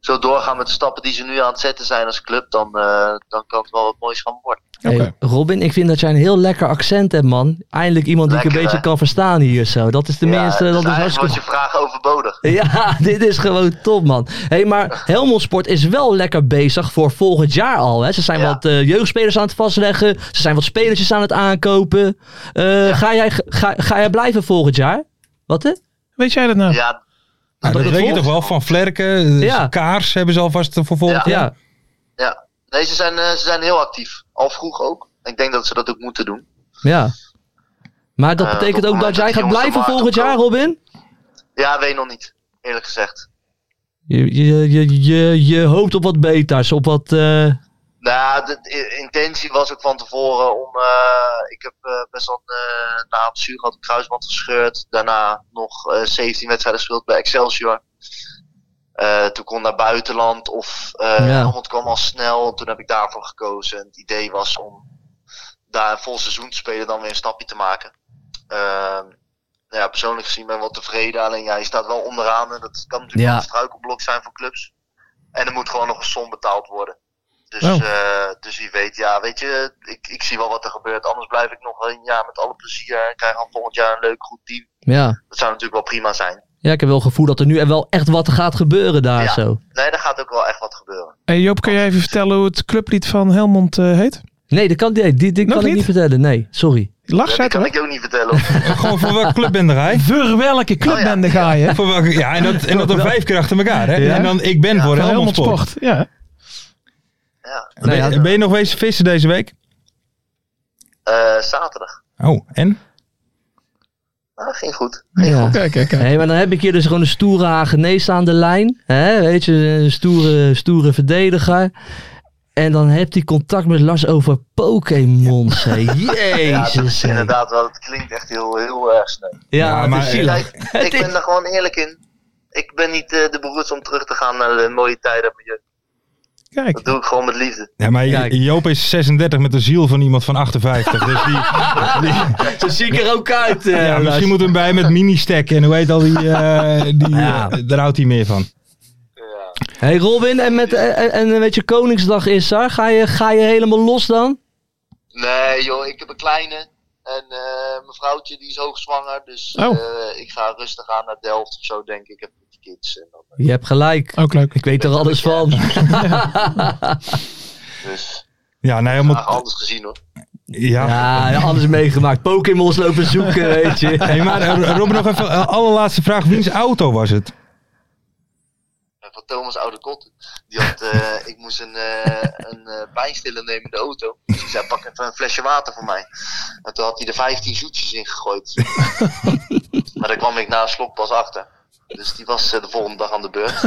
S5: zo doorgaan met de stappen die ze nu aan het zetten zijn als club, dan, eh, dan kan het wel wat moois gaan worden.
S3: Oké.
S4: Hey, Robin, ik vind dat jij een heel lekker accent hebt, man. Eindelijk iemand die ik een
S5: Lekker,
S4: beetje
S5: hè?
S4: kan verstaan hier zo. Dat is tenminste,
S5: ja, dus
S4: dat is
S5: eigenlijk was
S4: hartstikke...
S5: je vraag overbodig.
S4: Ja, dit is gewoon top, man. hey, maar Helmond Sport is wel lekker bezig voor volgend jaar al. Hè? Ze zijn
S5: Ja.
S4: wat eh, jeugdspelers aan het vastleggen. Ze zijn wat spelertjes aan het aankopen. Eh, ga, jij, ga, ga jij blijven volgend jaar? Wat, hè?
S3: Weet jij dat nou?
S5: Ja,
S2: Nou,
S4: dat
S2: dat weet je
S4: klopt.
S2: toch wel, van Vlerken, eh,
S4: Ja.
S2: Kaars hebben ze alvast eh, voor volgend
S4: Ja.
S2: jaar.
S5: ja. Nee, ze zijn, eh, ze zijn heel actief. Al vroeg ook. Ik denk dat ze dat ook moeten doen.
S4: Ja. Maar dat
S5: Eh,
S4: betekent
S5: op het
S4: ook dat
S5: moment
S4: jij
S5: dat
S4: gaat
S5: die jongens
S4: blijven
S5: op maart
S4: volgend jaar, Robin?
S5: Ja, weet nog niet. Eerlijk gezegd.
S4: Je, je, je, je, je hoopt op wat beters, op wat... eh,
S5: Nou, de, de intentie was ook van tevoren om. eh, ik heb eh, best wel eh, na een zuur had kruisband gescheurd. Daarna nog eh, 17 wedstrijden gespeeld bij Excelsior. Eh, toen kon naar buitenland of eh
S4: Ja.
S5: Helmond kwam al snel. Toen heb ik daarvoor gekozen. Het idee was om daar een vol seizoen te spelen, dan weer een stapje te maken. Ehm, nou ja, persoonlijk gezien ben ik wel tevreden. Alleen ja, je staat wel onderaan. En dat kan natuurlijk
S4: Ja.
S5: wel een struikelblok zijn voor clubs. En er moet gewoon nog een som betaald worden. Dus,
S3: Oh.
S5: eh, dus wie weet, ja, weet je, ik, ik zie wel wat er gebeurt. Anders blijf ik nog wel een jaar met alle plezier. En krijg dan volgend jaar een leuk, goed team.
S4: ja.
S5: Dat zou natuurlijk wel prima zijn.
S4: Ja, ik heb wel het gevoel dat er nu er wel echt wat gaat gebeuren daar
S5: Ja.
S4: zo.
S5: Nee, daar gaat ook wel echt wat gebeuren.
S3: Hey, Joop, kan jij even vertellen hoe het clublied van Helmond eh, heet?
S4: Nee, dat kan, nee, die, die
S3: Nog
S4: kan ik
S3: niet?
S4: niet vertellen. Nee, sorry.
S3: Lach
S5: Dat
S3: zet
S5: kan
S3: hoor.
S5: ik ook niet vertellen.
S2: Gewoon voor welke club ben jij?
S3: Voor welke clubbende ga je?
S2: Voor welke, ja, en dat, en dat dan vijf keer achter elkaar. Hè?
S3: Ja.
S2: En dan ik ben voor
S3: Van
S2: Helmond Sport.
S3: Ja.
S5: ja.
S2: Ben,
S4: Nou ja.
S2: ben je nog wezen vissen deze week?
S5: Eh, zaterdag.
S2: Oh, en?
S5: Nou, ging goed.
S4: Ja.
S3: Kijk, kijk, kijk.
S4: Hé, maar dan heb ik hier dus gewoon een stoere Hagenees aan de lijn. Hè? Weet je, een stoere, stoere verdediger. En dan heb hij contact met Lars over Pokémon.
S5: Ja, dat
S4: Jezus.
S5: is
S4: hé.
S5: inderdaad wel. Het klinkt echt heel, heel erg snel.
S4: Ja,
S2: maar-
S4: maar, zielig.
S5: Kijk, ik ben daar gewoon eerlijk in. Ik ben niet eh, de beroerd om terug te gaan naar de mooie tijden. van je.
S3: kijk.
S5: Dat doe ik gewoon met liefde.
S2: Ja, maar
S4: Kijk.
S2: Joop is 36 met de ziel van iemand van 58. Dus die,
S4: Zo zie ik er ook uit. eh,
S2: ja,
S4: Lars.
S2: misschien moeten we hem bij met mini-stack en hoe heet al die... eh, die
S4: Ja.
S2: eh, daar houdt hij meer van.
S4: Hey Robin, en, met, en, en eh, weet je, Koningsdag is daar. Ga je, ga je helemaal los dan?
S5: Nee joh, ik heb een kleine. En eh, mijn vrouwtje die is hoogzwanger. Dus
S3: Oh.
S5: eh, ik ga rustig aan naar Delft of zo denk ik. Ik heb met kids. En dan,
S4: Je hebt gelijk.
S3: Ook leuk.
S4: Ik weet er alles van.
S5: dus
S2: Ja, nou,
S5: graag
S2: helemaal,
S5: anders gezien hoor.
S2: ja.
S4: Ja, alles meegemaakt. Pokémon's lopen zoeken, weet je.
S2: Hey, maar eh, Rob, nog even eh, allerlaatste vraag. Wiens auto was het?
S5: En Eh, van Thomas Oude Kot. Die had, eh, ik moest een, eh een eh, pijnstiller nemen in de auto. Dus hij zei, pak even een flesje water voor mij. En toen had hij er 15 zoetjes in gegooid. maar daar kwam ik na een slok pas achter. Dus die was eh, de volgende dag aan de beurt.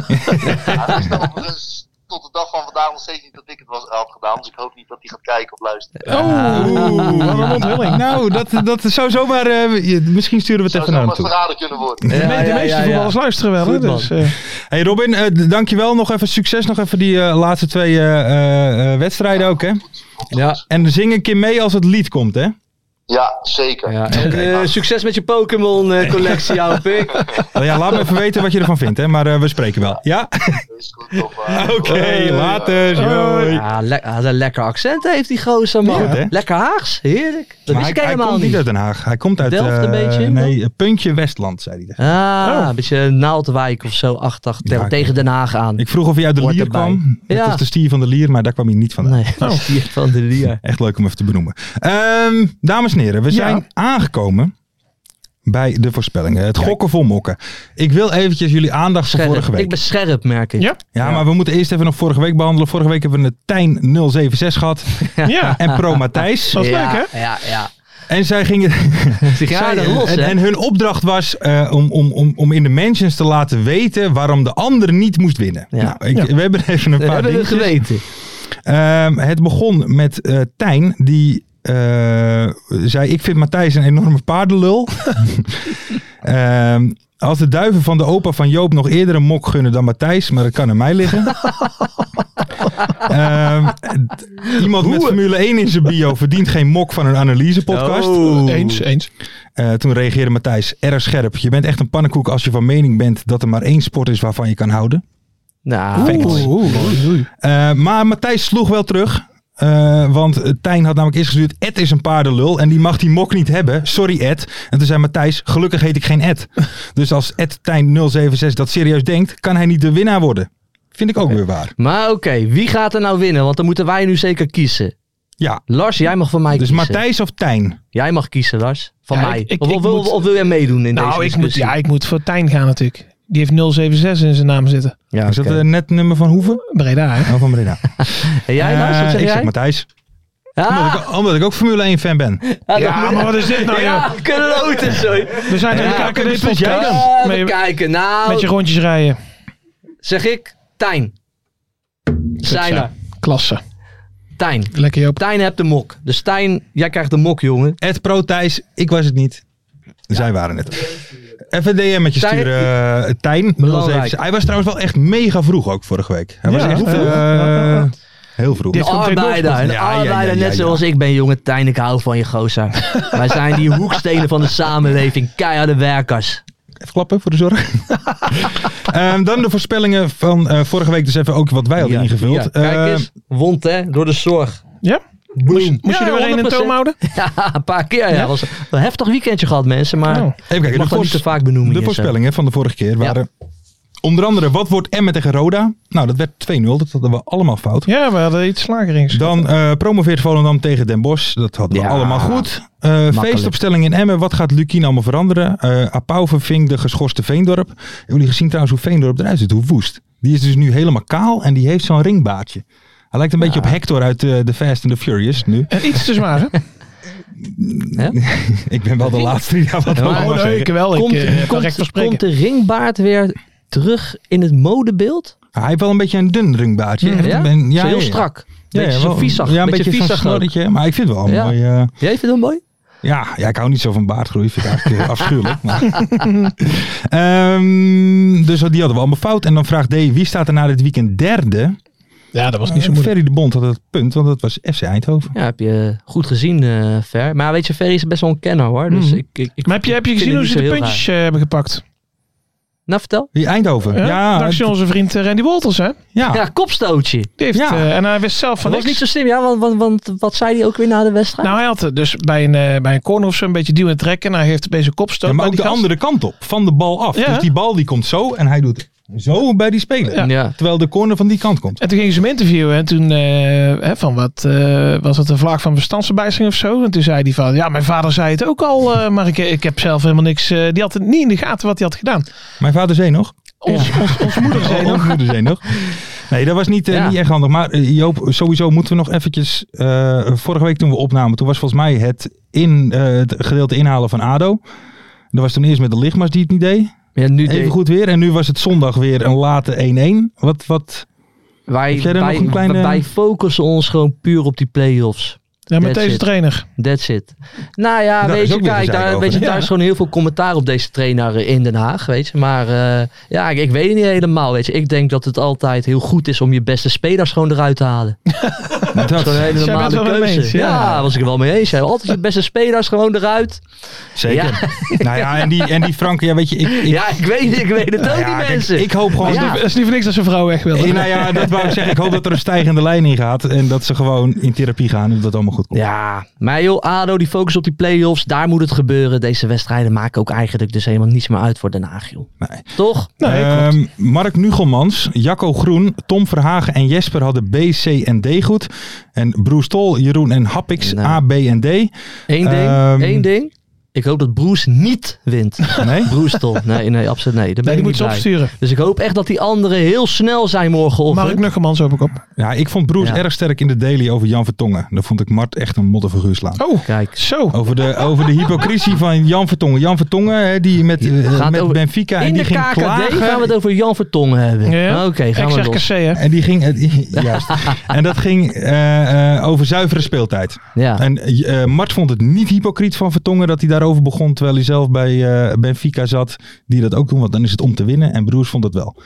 S5: Maar hij wist overigens tot de dag van vandaag nog steeds niet dat ik het was, had gedaan. Dus ik hoop niet dat hij gaat kijken of luisteren.
S2: Oh,
S3: Oeh, wat een onthulling.
S2: Nou, dat, dat zou zomaar... eh, je- misschien sturen we het
S5: Zou
S2: even naar hem
S5: zomaar
S2: toe.
S5: verraden kunnen worden.
S3: De, me- de
S4: ja,
S3: meeste
S4: ja, ja.
S3: voetballers luisteren wel. Hè,
S4: Goed, man.
S3: dus, eh,
S2: Hey Robin, eh, d- dankjewel. Nog even succes. Nog even die eh, laatste twee eh, eh, eh, wedstrijden ook, hè?
S4: Ja,
S2: En zing een keer mee als het lied komt, hè?
S5: Ja, zeker.
S4: ja. En, eh, succes met je eh, Pokémon-collectie, jouw pik.
S2: Nou ja, laat me even weten wat je ervan vindt, hè? Maar eh, we spreken wel. Ja?
S5: Is goed, toch, eh,
S2: Oké, later. Hoi.
S4: Ja, le- ah, dat een lekker accent heeft die gozer, man.
S2: Ja, hè?
S4: lekker Haags, heerlijk.
S2: Maar
S4: Dat wist
S2: hij,
S4: ik
S2: hij
S4: helemaal
S2: komt
S4: niet.
S2: niet uit Den Haag. Hij komt uit...
S4: Delft een
S2: eh,
S4: beetje?
S2: Nee, Puntje Westland, zei hij. tegen
S4: Ah, een beetje Naaldwijk of zo, achtig. te-
S2: Oh. Ja, ik-
S4: tegen Den Haag aan.
S2: me. Ik vroeg of hij uit de
S4: Hoort
S2: Lier
S4: erbij.
S2: kwam. Het
S4: Ja.
S2: was de stier van de Lier, maar daar kwam hij niet vandaan.
S4: Nee, dat is die eh, van de Lier.
S2: Echt leuk om even te benoemen. Ehm, dames en heren, we zijn aangekomen bij de voorspellingen. Het gokken voor mokken. Ik wil eventjes jullie aandacht voor vorige
S4: Scherp.
S2: week.
S4: Ik ben scherp, merk ik.
S3: ja.
S2: Ja, maar we moeten eerst even nog vorige week behandelen. Vorige week hebben we een Tijn 076 gehad
S3: ja.
S2: en Pro Matthijs.
S3: Dat is
S4: ja,
S3: leuk, hè?
S4: Ja, ja.
S2: En zij gingen...
S4: Ze gaan
S2: zij-
S4: er los,
S2: en,
S4: hè?
S2: en hun opdracht was eh, om, om, om, om in de mentions te laten weten waarom de ander niet moest winnen.
S4: Ja.
S2: Nou, ik, we hebben even een
S4: Dat
S2: paar
S4: hebben we
S2: dingetjes.
S4: geweten.
S2: Ehm, het begon met eh, Tijn, die eh, zei: Ik vind Matthijs een enorme paardenlul. Ehm, als de duiven van de opa van Joop nog eerder een mok gunnen dan Matthijs, maar dat kan aan mij liggen. Ehm, d- iemand met Formule 1 in zijn bio verdient geen mok van een analysepodcast.
S3: Oh,
S4: Oh.
S3: Eens, eens.
S2: Eh, toen reageerde Matthijs, erg scherp. Je bent echt een pannenkoek als je van mening bent dat er maar één sport is waarvan je kan houden.
S4: Nou,
S2: Facts. Eh, maar Matthijs sloeg wel terug. Eh, want Tijn had namelijk eerst gestuurd, Ed is een paardenlul en die mag die mok niet hebben. Sorry Ed. En toen zei Matthijs, gelukkig heet ik geen Ed. Dus als Ed Tijn 076 dat serieus denkt, kan hij niet de winnaar worden. Vind ik ook weer waar.
S4: maar oké, wie gaat er nou winnen? Want dan moeten wij nu zeker kiezen.
S2: Ja,
S4: Lars, jij mag van mij
S2: dus
S4: kiezen.
S2: Matthijs of Tijn?
S4: Jij mag kiezen, Lars. Van
S3: Ja,
S4: mij.
S3: ik- ik-
S4: of,
S3: ik
S4: of- of-
S3: moet-
S4: of wil jij meedoen in deze
S3: Nou, ik moet,
S4: discussie?
S3: ja, ik moet voor Tijn gaan natuurlijk. Die heeft 076 in zijn naam zitten.
S4: Ja,
S2: Is dat
S4: oké.
S2: eh, net nummer van Hoeven?
S3: Breda, hè?
S2: Oh, van Breda.
S4: En jij, Lars? Wat
S2: Eh,
S4: zeg
S2: ik
S4: jij?
S2: zeg Matthijs.
S4: Ah,
S2: Omdat, ik- omdat ik ook Formule 1 fan ben.
S4: ah, dat
S3: Ja,
S4: moet-
S3: maar wat is dit nou,
S4: Ja,
S3: joh?
S4: kloten, sorry.
S3: We zijn aan het
S4: Ja,
S3: kijken naar deze
S2: wat jij
S3: podcast.
S4: Ah,
S3: Met
S4: Even
S3: je-
S4: kijken.
S3: Met
S4: Nou,
S3: je rondjes rijden.
S4: zeg ik, Tijn. Zijn er.
S3: Klasse.
S4: Tijn.
S3: Lekker Joop.
S4: Tijn hebt de mok. Dus Tijn, jij krijgt de mok, jongen.
S2: Ed Pro Thijs, ik was het niet. Zij waren het. Even een DM'tje
S4: Tijn-
S2: sturen, eh, Tijn.
S4: Belangrijk.
S2: Even- Hij was trouwens wel echt mega vroeg ook vorige week. Hij
S3: Ja,
S2: was echt
S3: heel vroeg.
S2: eh,
S3: Ja.
S2: heel vroeg.
S3: Die-
S4: Een
S3: Dit komt in
S4: arbeider.
S3: Dortmund.
S4: Een
S2: Ja, ja,
S4: arbeider,
S2: ja, ja,
S4: net
S2: ja.
S4: zoals ik ben, jongen. Tijn, ik hou van je gozer. Wij zijn die hoekstenen van de samenleving. Keiharde werkers.
S2: Even klappen voor de zorg. Ehm, dan de voorspellingen van eh, vorige week. Dus even ook wat wij hadden
S4: Ja,
S2: ingevuld.
S4: ja. Kijk
S2: Eh,
S4: eens. Wond, hè? Door de zorg.
S3: Ja? Moest, moest
S4: Ja,
S3: je er weer een in
S4: 100%.
S3: toom houden?
S4: Ja, een paar keer. Ja.
S3: Ja?
S4: was een heftig weekendje gehad, mensen. Maar
S3: Nou.
S2: even kijken.
S4: ik
S2: de
S4: mag dat niet
S2: voors-
S4: te vaak benoemen.
S2: De
S4: hier zo.
S2: voorspellingen van de vorige keer waren... Onder andere, wat wordt Emmen tegen Roda? Nou, dat werd 2-0. Dat hadden we allemaal fout.
S3: Ja, we hadden iets lager ingeschat.
S2: Dan eh, promoveert Volendam tegen Den Bosch. Dat hadden we
S4: Ja.
S2: allemaal goed. Eh feestopstelling in Emmen. Wat gaat Lukien allemaal veranderen? Eh Apau verving de geschorste Veendorp. Hebben jullie gezien trouwens hoe Veendorp eruit ziet? Hoe woest. Die is dus nu helemaal kaal en die heeft zo'n ringbaardje. Hij lijkt een beetje op Hector uit eh, The Fast and the Furious nu.
S3: En iets te zwaar, hè?
S2: ik ben wel de laatste die daar wat over mag zeggen.
S3: Oh, wel.
S4: Komt,
S3: eh, kan recht van
S4: komt,
S3: spreken.
S4: komt de ringbaard weer terug in het modebeeld?
S2: Hij heeft wel een beetje een dun ringbaardje. Echt
S4: Mhm. Ja?
S2: een- een-
S4: Zo heel strak. beetje
S2: ja,
S4: zo
S2: wel-
S4: viezig.
S2: Ja, een
S4: beetje
S2: beetje,
S4: viezig
S2: viezig.
S4: ook.
S2: maar ik vind het wel een
S4: Ja.
S2: mooi... eh,
S4: Jij vindt dat mooi?
S2: Ja, ja, ik hou niet zo van baardgroei. Vind ik eigenlijk eh, afschuwelijk. Maar. Ehm, dus die hadden we allemaal fout. En dan vraagt D, wie staat er na dit weekend derde?
S3: Ja, dat was niet zo
S2: Eh,
S3: moeilijk.
S2: Ferry de Bond had het punt, want dat was FC Eindhoven.
S4: Ja, heb je goed gezien, eh Fer. Maar weet je, Ferry is best wel een kenner, hoor. Dus
S3: Mhm.
S4: ik, ik, ik
S3: Maar heb je, heb je
S4: vind
S3: gezien
S4: het
S3: hoe
S4: niet
S3: ze
S4: zo
S3: de
S4: heel
S3: puntjes eh, hebben gepakt?
S4: raar. Nou, vertel.
S2: Wie Eindhoven?
S3: Ja,
S2: Ja,
S3: Dankzij
S2: het-
S3: onze vriend eh, Randy Wolters, hè?
S2: ja,
S4: Ja, kopstootje.
S3: Die heeft,
S2: Ja.
S3: eh, en hij wist zelf van
S4: Dat was
S3: niks.
S4: niet zo slim, ja. Want, want, want wat zei hij ook weer na de wedstrijd?
S3: Nou, hij had eh, dus bij een, eh, bij een corner of zo een beetje duw en trekken. En hij heeft bij zijn kopstoot.
S2: Ja, maar
S3: bij
S2: ook
S3: die
S2: de
S3: gast.
S2: andere kant op, van de bal af.
S3: Ja.
S2: Dus die bal die komt zo en hij doet zo bij die speler.
S3: Ja.
S4: ja.
S2: Terwijl de corner van die kant komt.
S3: En toen gingen ze hem interviewen. En toen, eh, hè, van wat, eh, was dat een vlaag van verstandsverbijstering of zo? En toen zei hij van, ja, mijn vader zei het ook al. eh, maar ik, ik heb zelf helemaal niks. eh, die had het niet in de gaten wat hij had gedaan.
S2: Mijn vader zei nog.
S3: Ons, ons, ons moeder zei
S2: Oh,
S3: nog.
S2: onze moeder zei nog. Nee, dat was niet, eh,
S4: Ja.
S2: niet echt handig. Maar eh, Joop, sowieso moeten we nog eventjes... eh, vorige week toen we opnamen, toen was volgens mij het, in, eh, het gedeelte inhalen van ADO. Dat was toen eerst met de lichtmas die het niet deed.
S4: Ja, nu
S2: Even
S4: deed-
S2: goed weer. En nu was het zondag weer een late 1-1. Wat, wat...
S4: Wij,
S2: Heb jij daar
S4: wij,
S2: nog een kleine-
S4: wij focussen ons gewoon puur op die play-offs.
S3: Ja, met
S4: That's
S3: deze
S4: it.
S3: trainer.
S4: That's it. Nou ja,
S2: Daar
S4: weet
S2: is
S4: je,
S2: ook weer
S4: kijk,
S2: gezeik
S4: daar,
S2: over,
S4: weet je,
S2: hè?
S4: daar is gewoon heel veel commentaar op deze trainer in Den Haag, weet je. Maar eh, ja, ik, ik weet het niet helemaal, weet je. Ik denk dat het altijd heel goed is om je beste spelers gewoon eruit te halen.
S2: Dat,
S4: Dat is gewoon een hele
S3: Zij bent
S4: normale
S3: het wel mee
S4: keuze.
S3: eens,
S4: ja.
S3: ja.
S4: was ik er wel mee eens. hè. Altijd je beste spelers gewoon eruit.
S2: Zeker. Nou ja, en die, en die Frank, ja weet je... Ik, ik,
S4: Ja, ik weet, ik weet het ook,
S2: nou ja,
S4: die
S2: kijk,
S4: mensen.
S2: ik hoop gewoon...
S4: Ja.
S3: Dat is niet voor niks dat zijn vrouw weg wil.
S2: Eh, Nou ja, dat wou ik zeggen. Ik hoop dat er een stijgende lijn in gaat. En dat ze gewoon in therapie gaan. En dat het allemaal goed komt.
S4: Ja, maar joh, ADO die focus op die play-offs. Daar moet het gebeuren. Deze wedstrijden maken ook eigenlijk dus helemaal niets meer uit voor Den Haag, joh.
S2: Nee.
S4: Toch?
S2: Ehm, Mark Nugelmans, Jacco Groen, Tom Verhagen en Jesper hadden B, C en D goed. En Broes Tol, Jeroen en Happix
S4: Nou.
S2: A, B en D.
S4: Eén ding,
S2: Ehm.
S4: één ding. Ik hoop dat Broes niet wint.
S2: Nee?
S4: Broes toch? Nee, nee, absoluut nee. Daar ben
S3: Nee, die
S4: ik
S3: moet
S4: niet
S3: ze
S4: bij.
S3: opsturen.
S4: Dus ik hoop echt dat die anderen heel snel zijn morgenochtend.
S3: Mark Nuggemans hoop ik op.
S2: Ja, ik vond Broes
S4: Ja.
S2: erg sterk in de daily over Jan Vertongen. Daar vond ik Mart echt een modderfiguur slaan.
S3: Oh,
S4: Kijk.
S3: zo.
S2: Over de, over de hypocrisie van Jan Vertongen. Jan Vertongen, hè, die met, eh,
S4: Gaat
S2: met
S4: over-
S2: Benfica en
S4: In de
S2: die ging
S4: KKD
S2: klagen.
S4: gaan we het over Jan Vertongen hebben. Ah, Oké, gaan we los.
S3: XRKC, hè?
S2: En die ging, eh, juist. En dat ging eh, eh, over zuivere speeltijd.
S4: Ja.
S2: En eh, Mart vond het niet hypocriet van Vertongen dat hij daarover begon. Terwijl hij zelf bij eh, Benfica zat. Die dat ook doen, want dan is het om te winnen. En Broers vond het wel.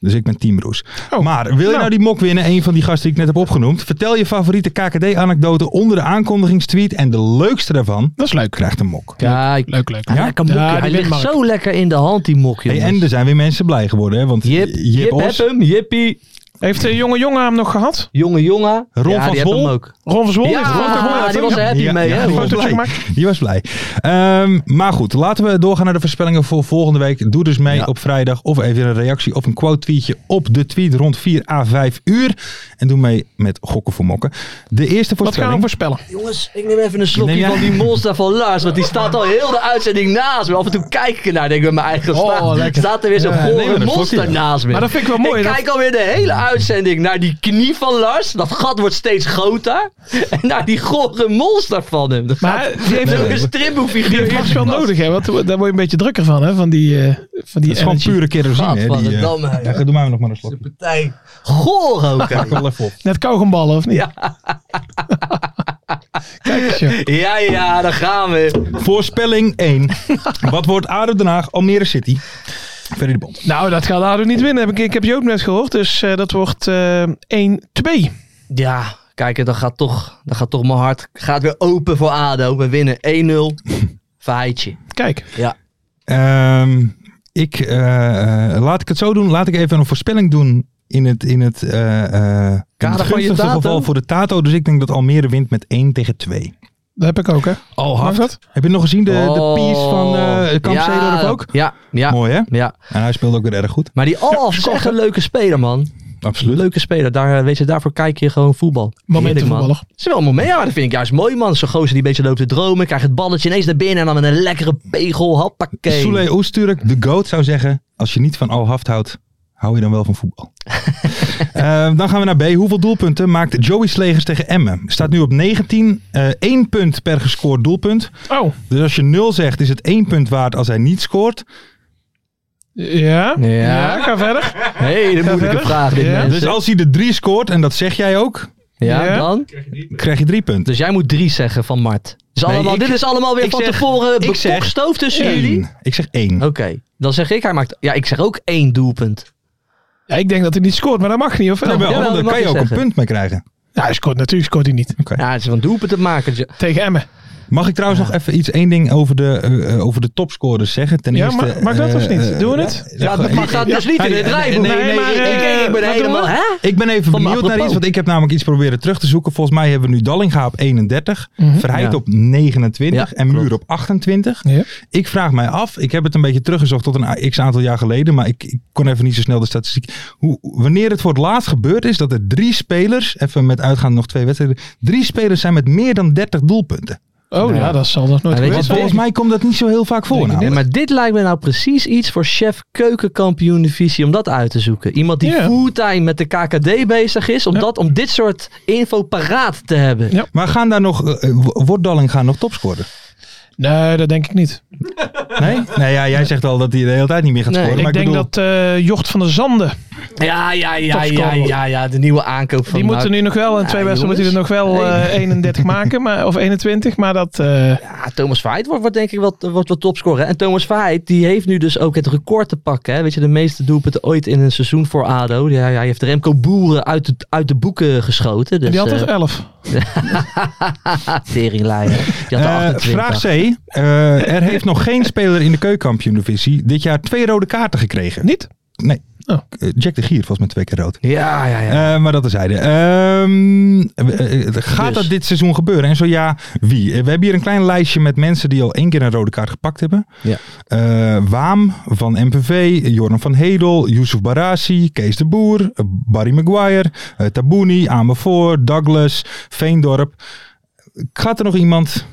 S2: Dus ik ben Team Roes.
S3: Oh,
S2: maar wil je nou.
S3: nou.
S2: die mok winnen, een van die gasten die ik net heb opgenoemd? Vertel je favoriete KKD-anekdote onder de aankondigingstweet. En de leukste daarvan
S3: Dat is leuk.
S2: krijgt een mok.
S4: Kijk.
S3: Leuk, leuk.
S4: Ja, kan mokje. Ah,
S3: die
S4: Hij
S3: wint
S4: ligt
S3: Mark.
S4: zo lekker in de hand, die mokje.
S2: Hey, en er zijn weer mensen blij geworden, hè? Want
S4: Jip,
S2: Jip
S4: Jip, heb
S2: Os,
S4: hem, Jippie.
S3: Heeft de jonge jongen hem nog gehad?
S4: Jonge jongen.
S2: Ron
S4: ja,
S2: van
S4: die
S2: Zwol.
S4: hebben hem ook.
S3: Ron van Zwol?
S4: Ja,
S3: heeft Ron van Zwol
S4: die
S3: gehad.
S4: was er happy mee,
S2: die,
S4: hè,
S3: Ron?
S2: was
S3: Fotootje
S2: blij.
S3: gemaakt.
S2: die was blij. Ehm, maar goed, laten we doorgaan naar de voorspellingen voor volgende week. Doe dus mee
S4: Ja.
S2: op vrijdag. Of even een reactie of een quote tweetje op de tweet rond 4 à 5 uur. En doe mee met gokken voor mokken. De eerste
S3: Wat gaan we
S2: voorspelling.
S3: voorspellen?
S4: Jongens, ik neem even een
S2: Neem
S4: slokje
S2: jij-
S4: van die monster van Lars. Want die staat al heel de uitzending naast me. Af en toe kijk ik ernaar, denk ik bij mijn eigen
S3: Oh,
S4: staat-
S3: lekker.
S4: Staat er weer zo'n
S2: Ja,
S4: gore
S2: neem maar een
S4: monster
S2: slokje.
S4: naast me.
S3: Maar dat vind ik wel mooi,
S4: Ik
S3: dat-
S4: kijk alweer de hele uitzending naar die knie van Lars. Dat gat wordt steeds groter. En naar die gore monster van hem. Dat
S3: Maar
S4: gaat-
S3: die heeft-
S4: zo'n stripboekfiguur.
S3: Die heeft vast wel nodig, hè? Want daar word je een beetje drukker van, hè? Van die, eh, van die
S2: Het is gewoon
S3: energy.
S2: pure kerosine. hè, die, eh,
S4: Gadverdamme, hè,
S2: ja, doe mij nog maar een slokje.
S4: Partij. Goor ook. hè.
S2: Pak wel even op.
S3: Net kauwgomballen, of niet?
S4: Ja.
S3: Kijk eens, joh.
S4: Ja, ja, daar gaan we.
S2: Voorspelling 1. Wat wordt ADO Den Haag, Almere City? Ferry de Bond.
S3: Nou, dat gaat ADO niet winnen. Heb ik, ik heb je ook net gehoord. Dus eh, dat wordt eh 1-2.
S4: Ja, kijk, dan gaat toch, dan gaat toch mijn hart gaat weer open voor ADO. We winnen 1-0. Feitje.
S3: Kijk.
S4: Ja.
S2: Ehm, ik, eh, eh, laat ik het zo doen. Laat ik even een voorspelling doen in het, in het, eh, eh, in het
S4: van je
S2: gunstigste
S4: Tato?
S2: geval voor de Tato. Dus ik denk dat Almere wint met 1 tegen 2.
S3: Dat heb ik ook, hè?
S2: Al
S3: Mag dat?
S2: Heb je nog gezien de, de piece van eh Kamp
S4: Oh. ja,
S2: Zeedorf ook?
S4: Ja, ja.
S2: Mooi hè?
S4: ja.
S2: En hij speelde ook weer erg goed.
S4: Maar die Alf is echt een leuke speler, man.
S2: Absoluut.
S4: Leuke speler. Daar, eh, weet je, daarvoor kijk je gewoon voetbal. Heerlijk,
S3: Momentenvoetballer.
S4: man. Het is wel een moment, ja, maar dat vind ik juist mooi, man. Zo'n gozer die een beetje loopt te dromen. Krijgt het balletje ineens naar binnen en dan met een lekkere pegel. Hoppakee.
S2: Soele Oesturk, de GOAT, zou zeggen... als je niet van Al Haft houdt, hou je dan wel van voetbal. Eh, dan gaan we naar B. Hoeveel doelpunten maakt Joey Slegers tegen Emmen? Staat nu op 19. eh 1 punt per gescoord doelpunt.
S3: Oh,
S2: Dus als je 0 zegt, is het 1 punt waard als hij niet scoort.
S3: ja.
S4: Ja.
S3: Ja, ga verder.
S4: Hele moeilijke
S3: verder.
S4: vraag, dit
S3: Ja.
S4: mensen.
S2: Dus als hij de 3 scoort, en dat zeg jij ook,
S4: ja,
S3: Ja.
S4: dan?
S2: krijg je 3 punten.
S4: Dus jij moet drie zeggen van Mart. Dus
S2: Nee,
S4: allemaal,
S2: ik-
S4: dit is allemaal weer
S2: ik
S4: van
S2: zeg-
S4: tevoren
S2: ik zeg
S4: bekokstoofd tussen Dus jullie. Oh,
S2: Eén. Ik zeg 1.
S4: Oké, dan zeg ik, hij maakt... Ja, ik zeg ook één doelpunt.
S3: Ja, ik denk dat hij niet scoort, maar dat mag niet, of wel?
S2: Jawel,
S4: Ja, dat
S2: daar
S4: mag
S2: kan je
S4: ik
S2: ook
S4: zeggen.
S2: een punt mee krijgen.
S3: Ja, hij scoort natuurlijk, scoort hij niet.
S4: Ja, het is van doelpunt te maken. Ja,
S3: Tegen Emmen.
S2: Mag ik trouwens nog even iets, één ding over de, eh, eh, over de topscorers zeggen? Ten
S3: Ja,
S2: eerste,
S3: mag- mag dat
S2: eh,
S3: of niet?
S2: eh,
S3: Doen we het?
S2: eh,
S3: Ja,
S2: eh,
S3: dat
S2: eh,
S3: mag.
S4: gaat dus niet in
S2: nee,
S4: het rijboek.
S2: nee, nee,
S3: maar, eh,
S4: ik, ik ben
S3: wat doen
S4: helemaal...
S3: we?
S4: Hè?
S2: Ik ben even
S4: Van de
S2: benieuwd naar
S4: apropos.
S2: iets, want ik heb namelijk iets proberen terug te zoeken. Volgens mij hebben we nu Dallinga op 31,
S3: Mhm.
S2: Verheid
S4: Ja.
S2: op 29
S4: Ja,
S2: en Muur
S4: klopt.
S2: op 28.
S3: Ja.
S2: Ik vraag mij af, ik heb het een beetje teruggezocht tot een x aantal jaar geleden, maar ik, ik kon even niet zo snel de statistiek. Hoe, wanneer het voor het laatst gebeurd is dat er drie spelers, even met uitgaande nog twee wedstrijden, drie spelers zijn met meer dan 30 doelpunten.
S3: Oh, ja, dat zal nog nooit
S4: Ja, weet je
S2: Want
S3: gebeuren.
S2: volgens mij komt dat niet zo heel vaak voor. nou,
S3: Denk ik
S2: namelijk.
S4: Nee, maar dit lijkt me nou precies iets voor chef keukenkampioen divisie om dat uit te zoeken. Iemand die
S3: Ja.
S4: fulltime met de KKD bezig is, om,
S3: Ja.
S4: dat, om dit soort info paraat te hebben.
S3: Ja.
S2: Maar gaan daar nog, eh, eh, wordt Dallinga nog topscorer?
S3: Nee, dat denk ik niet.
S2: Nee? Nee, ja, jij zegt al dat hij de hele tijd niet meer gaat
S4: Nee,
S2: scoren.
S3: ik
S2: maar
S3: denk
S2: bedoel,
S3: dat eh, Jocht van der Zanden,
S4: Ja, ja, ja, ja,
S3: Topscorer.
S4: ja, ja, de nieuwe aankoop van eh,
S3: die moet er
S4: Mark.
S3: nu nog wel, in
S4: Ja,
S3: twee wedstrijden moet hij er nog wel eh,
S4: jongens.
S3: 31 maken, maar, of 21, maar dat... eh,
S4: Ja, Thomas Verheid wordt, wordt denk ik wat, wordt wat topscorer. En Thomas Verheid die heeft nu dus ook het record te pakken. Hè? Weet je, de meeste doelpunten ooit in een seizoen voor ADO. Ja, hij heeft Remco Boeren uit de, uit de boeken geschoten. Dus,
S3: die had er
S4: eh,
S3: 11.
S4: teringlijn, hè. Die had er
S2: Eh,
S4: 28.
S2: vraag C. Eh, er heeft nog geen speler in de keukenkampioen-divisie dit jaar twee rode kaarten gekregen.
S3: Niet?
S2: Nee.
S3: Oh.
S2: Eh, Jack de Gier was met twee keer rood.
S4: Ja, ja, ja.
S2: Eh, maar dat is hij. Ehm eh, eh, gaat
S4: Dus.
S2: dat dit seizoen gebeuren? En zo ja, wie? Eh, We hebben hier een klein lijstje met mensen die al één keer een rode kaart gepakt hebben.
S4: Ja.
S2: Eh, Waam van MPV, Jordan van Hedel, Yusuf Barassi, Kees de Boer, eh, Barry Maguire, eh, Tabouni, Amervoor, Douglas, Veendorp. Gaat er nog iemand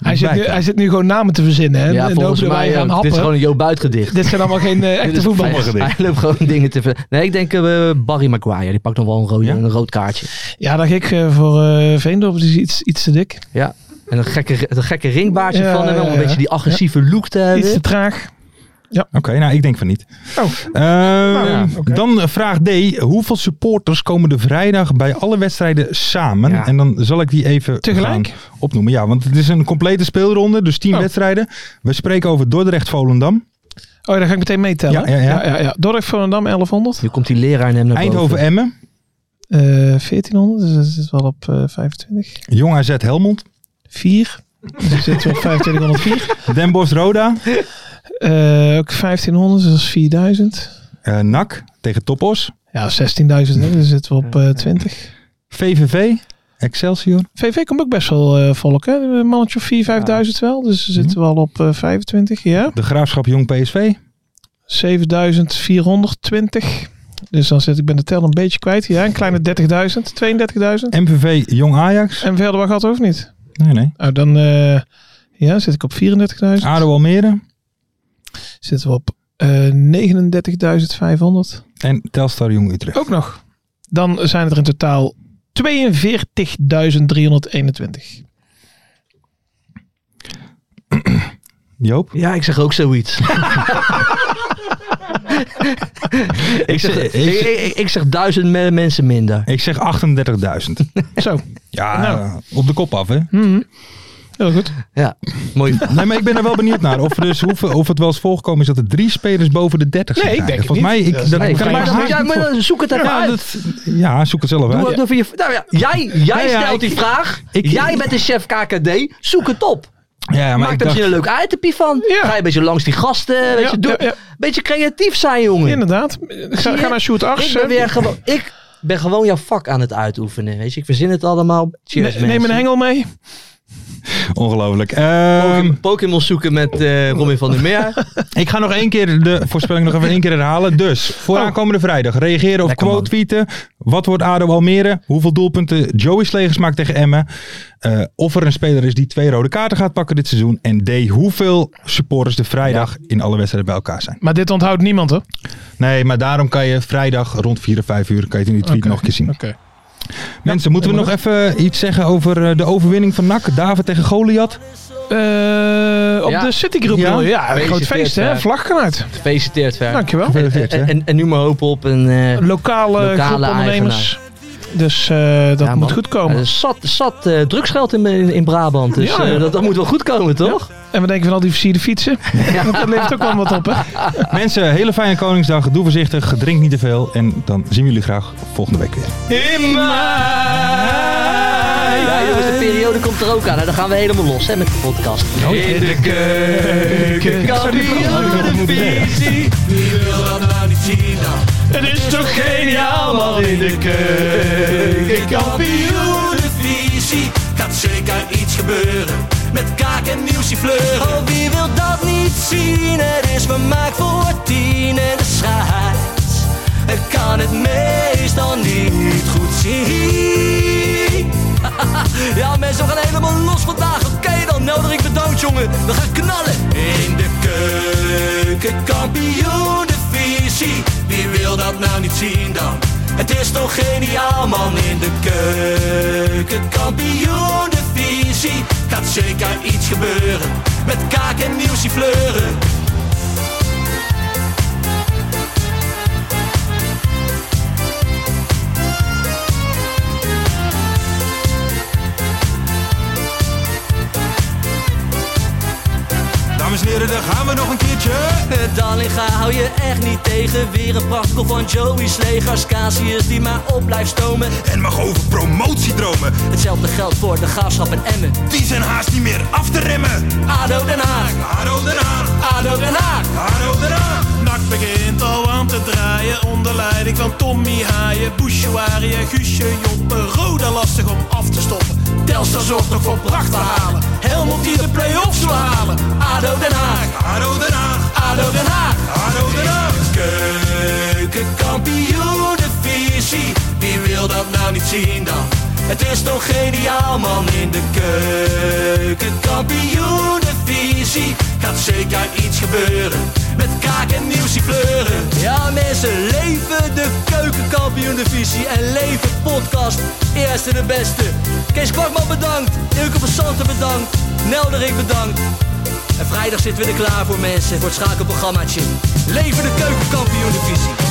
S3: Hij zit, nu,
S2: bij?
S3: hij zit nu gewoon namen te verzinnen. Hè?
S4: ja,
S3: Eh, En
S4: volgens
S3: hopen dat wij
S4: mij
S3: gaan
S4: ook.
S3: happen.
S4: Dit is gewoon een Joop Buit gedicht.
S3: allemaal geen eh,
S4: Dit
S3: echte
S4: is-
S3: voetballers.
S4: Hij, hij loopt gewoon dingen te ver. Nee, ik denk eh, Barry Maguire. Die pakt nog wel een, rode,
S2: Ja?
S4: een rood kaartje.
S3: Ja, dat ik eh, voor eh Veendorp is iets, iets te dik.
S4: Ja. En een gekke, een gekke ringbaardje
S3: Ja,
S4: van hem. Om
S3: ja,
S4: een
S3: ja.
S4: beetje die agressieve look te
S3: Iets te
S4: hebben.
S3: traag.
S2: Oké, nou ik denk van niet.
S3: Oh.
S2: Ehm,
S3: ja, oké.
S2: Dan eh, vraag D. Hoeveel supporters komen de vrijdag bij alle wedstrijden samen?
S4: Ja.
S2: En dan zal ik die even
S3: Tegelijk?
S2: gaan opnoemen. Ja, want het is een complete speelronde, dus 10
S3: Oh.
S2: wedstrijden. We spreken over Dordrecht-Volendam.
S3: Oh, ja, dan ga ik meteen meetellen.
S2: Ja, ja, ja.
S3: ja, ja. Dordrecht Volendam 1100.
S7: Nu komt die leraar in hem naar boven.
S2: Eindhoven Emmen.
S3: Eh 1400, dus dat is wel op eh, 25.
S2: Jong AZ Helmond.
S3: 4. Dus zitten we op 2504.
S2: Den Bosch Roda.
S3: Eh, ook 1500, dus dat is 4000.
S2: eh, NAC tegen Topos.
S3: Ja, 16.000, hè, dus zitten we op eh, 20.
S2: VVV. Excelsior.
S3: VV komt ook best wel eh, volk, hè? Een mannetje of 4, 5000 wel. Dus we zitten wel op eh, 25, ja.
S2: De Graafschap Jong PSV.
S3: 7420. Dus dan zit ik ben de tel een beetje kwijt. Ja, een kleine 30.000, 32.000.
S2: MVV Jong Ajax.
S3: En verder wat gaat over niet?
S2: Nee, nee.
S3: Nou, dan eh, ja, zit ik op 34.000.
S2: ADO Almere.
S3: Zitten we op eh 39.500.
S2: En Telstar Jong Utrecht.
S3: Ook nog. Dan zijn het er in totaal 42.321.
S2: Joop.
S7: Ja, ik zeg ook zoiets. ik, zeg,
S2: Ik
S7: ik,
S2: zeg-
S7: ik- ik zeg duizend me- mensen minder.
S2: Ik zeg 38.000.
S3: Zo,
S2: Ja,
S3: Nou.
S2: eh, op de kop af, hè?
S7: Hm.
S3: heel goed.
S7: Ja, mooi.
S2: Nee, maar ik ben er wel benieuwd naar. Of, er dus, of, of het wel eens voorkomen is dat er drie spelers boven de 30 zijn.
S3: Nee, ik denk het
S2: Volgens mij, ik, dat,
S7: Nee,
S2: kan ik
S7: maar,
S2: me
S7: dat-
S2: haast
S7: ja,
S2: niet
S7: maar
S2: voor-
S7: dan zoek het even
S2: Ja,
S3: Nou,
S7: uit.
S2: dat- ja, zoek het zelf
S7: Doe
S2: uit.
S7: het door je- nou ja, jij jij
S2: Ja, ja,
S7: stelt
S2: ik-
S7: die vraag.
S2: ik-
S7: jij bent de chef KKD. Zoek het op.
S2: Ja, maar
S7: Maak
S2: ik
S7: er misschien
S2: dacht,
S7: een leuk itempief van.
S3: Ja.
S7: Ga je een beetje langs die gasten. Weet
S3: Ja,
S7: je, doe,
S3: ja, ja.
S7: beetje creatief zijn, jongen.
S3: Inderdaad. Ga, ga naar Shoot
S7: Ik
S3: 8.
S7: ben, weer gewoon, ik ben gewoon jouw vak aan het uitoefenen. Weet je, ik verzin het allemaal. Cheers,
S3: Neem een
S7: mensen.
S3: hengel mee.
S2: ongelooflijk. Ehm,
S7: Pokémon- Pokémon zoeken met eh Robin van der Meer.
S2: ik ga nog één keer de voorspelling nog even één keer herhalen. Dus, voor aankomende vrijdag, reageren of
S7: Oh. Lekker,
S2: quote
S7: man.
S2: tweeten. Wat wordt ADO Almere? Hoeveel doelpunten Joey Slegers maakt tegen Emmen? Eh, of er een speler is die twee rode kaarten gaat pakken dit seizoen. En D, hoeveel supporters de vrijdag in alle wedstrijden bij elkaar zijn.
S3: Maar dit onthoudt niemand, hè? Oké.
S2: Nee, maar daarom kan je vrijdag rond 4 of 5 uur kan je het in die tweet nog een keer zien. Mensen, moeten we nog even iets zeggen over eh, de overwinning van NAC? David tegen Goliath?
S3: Eh, op
S7: Ja.
S3: de Citygroep
S2: Ja.
S3: ja. Ja, een groot
S7: Gefeliciteerd,
S3: feest, hè?
S7: eh.
S3: Vlag gaan uit.
S7: Gefeliciteerd, Ver.
S3: Dankjewel.
S2: Gefeliciteerd, hè?
S7: En, en, en nu maar hopen op een... eh,
S3: Lokale,
S7: Lokale
S3: groep ondernemers. Dus eh, dat
S7: Ja,
S3: moet
S7: man.
S3: goed komen.
S7: Er zat, zat eh, drugsgeld in, in, in Brabant. Dus
S3: Ja,
S7: eh,
S3: ja.
S7: dat, dat moet wel goed komen, toch?
S3: En we denken van al die versierde fietsen. Dat levert ook wel wat op, hè?
S2: Mensen, hele fijne Koningsdag. Doe voorzichtig, drink niet te veel. En dan zien we jullie graag volgende week weer.
S7: Ja, jongens, de periode komt er ook aan. En dan gaan we helemaal los hè, met de podcast.
S2: In de keuken.
S3: Het is toch geniaal, man in de keuken.
S4: Kampioenenvisie gaat zeker iets gebeuren. Met kaak en nieuwsje fleuren. Oh, wie wil dat niet zien? Het is vermaakt voor tien en de scheids. Ik kan het meestal niet goed zien. Ja, mensen, we gaan helemaal los vandaag. Oké, dan nodig ik de dood, jongen. We gaan knallen. In de keuken, kampioen, de visie. Wie wil dat nou niet zien dan? Het is toch geniaal, man. In de keuken, kampioen, de visie. Gaat zeker iets gebeuren. Met kaak en nieuwsje fleuren.
S8: Dames en heren, daar gaan we nog een keertje.
S4: Eh, Dallinga hou je echt niet tegen. Weer een prachtkel van Joey's legers. Casius die maar op blijft stomen.
S8: En mag over promotiedromen.
S4: Hetzelfde geldt voor de graafschap en Emmen.
S8: Die zijn haast niet meer af te remmen.
S4: ADO Den Haag,
S8: Haro Den Haag,
S4: ADO Den Haag.
S8: Haro Den Haag.
S4: Nak begint al aan te draaien onder leiding van Tommy Haaien, Bouchouari en Guusje Joppen. Roda lastig om af te stoppen. Telstar zorgt nog voor pracht te halen. Helmond die de play-offs wil halen. ADO Den Haag, ADO Den Haag, ADO Den Haag, ADO Den Haag. Keukenkampioenenvisie, wie wil dat nou niet zien dan? Het is toch geniaal man in de keukenkampioenenvisie. Gaat zeker iets gebeuren, met kaak en nieuwsie pleuren. Ja mensen, leven de keukenkampioenenvisie en leven podcast. Eerste de beste. Kees Kwakman bedankt, Ilke van Santen bedankt, Nelderik bedankt. En vrijdag zitten we er klaar voor mensen, voor het schakelprogrammaatje. Leven de keukenkampioen divisie.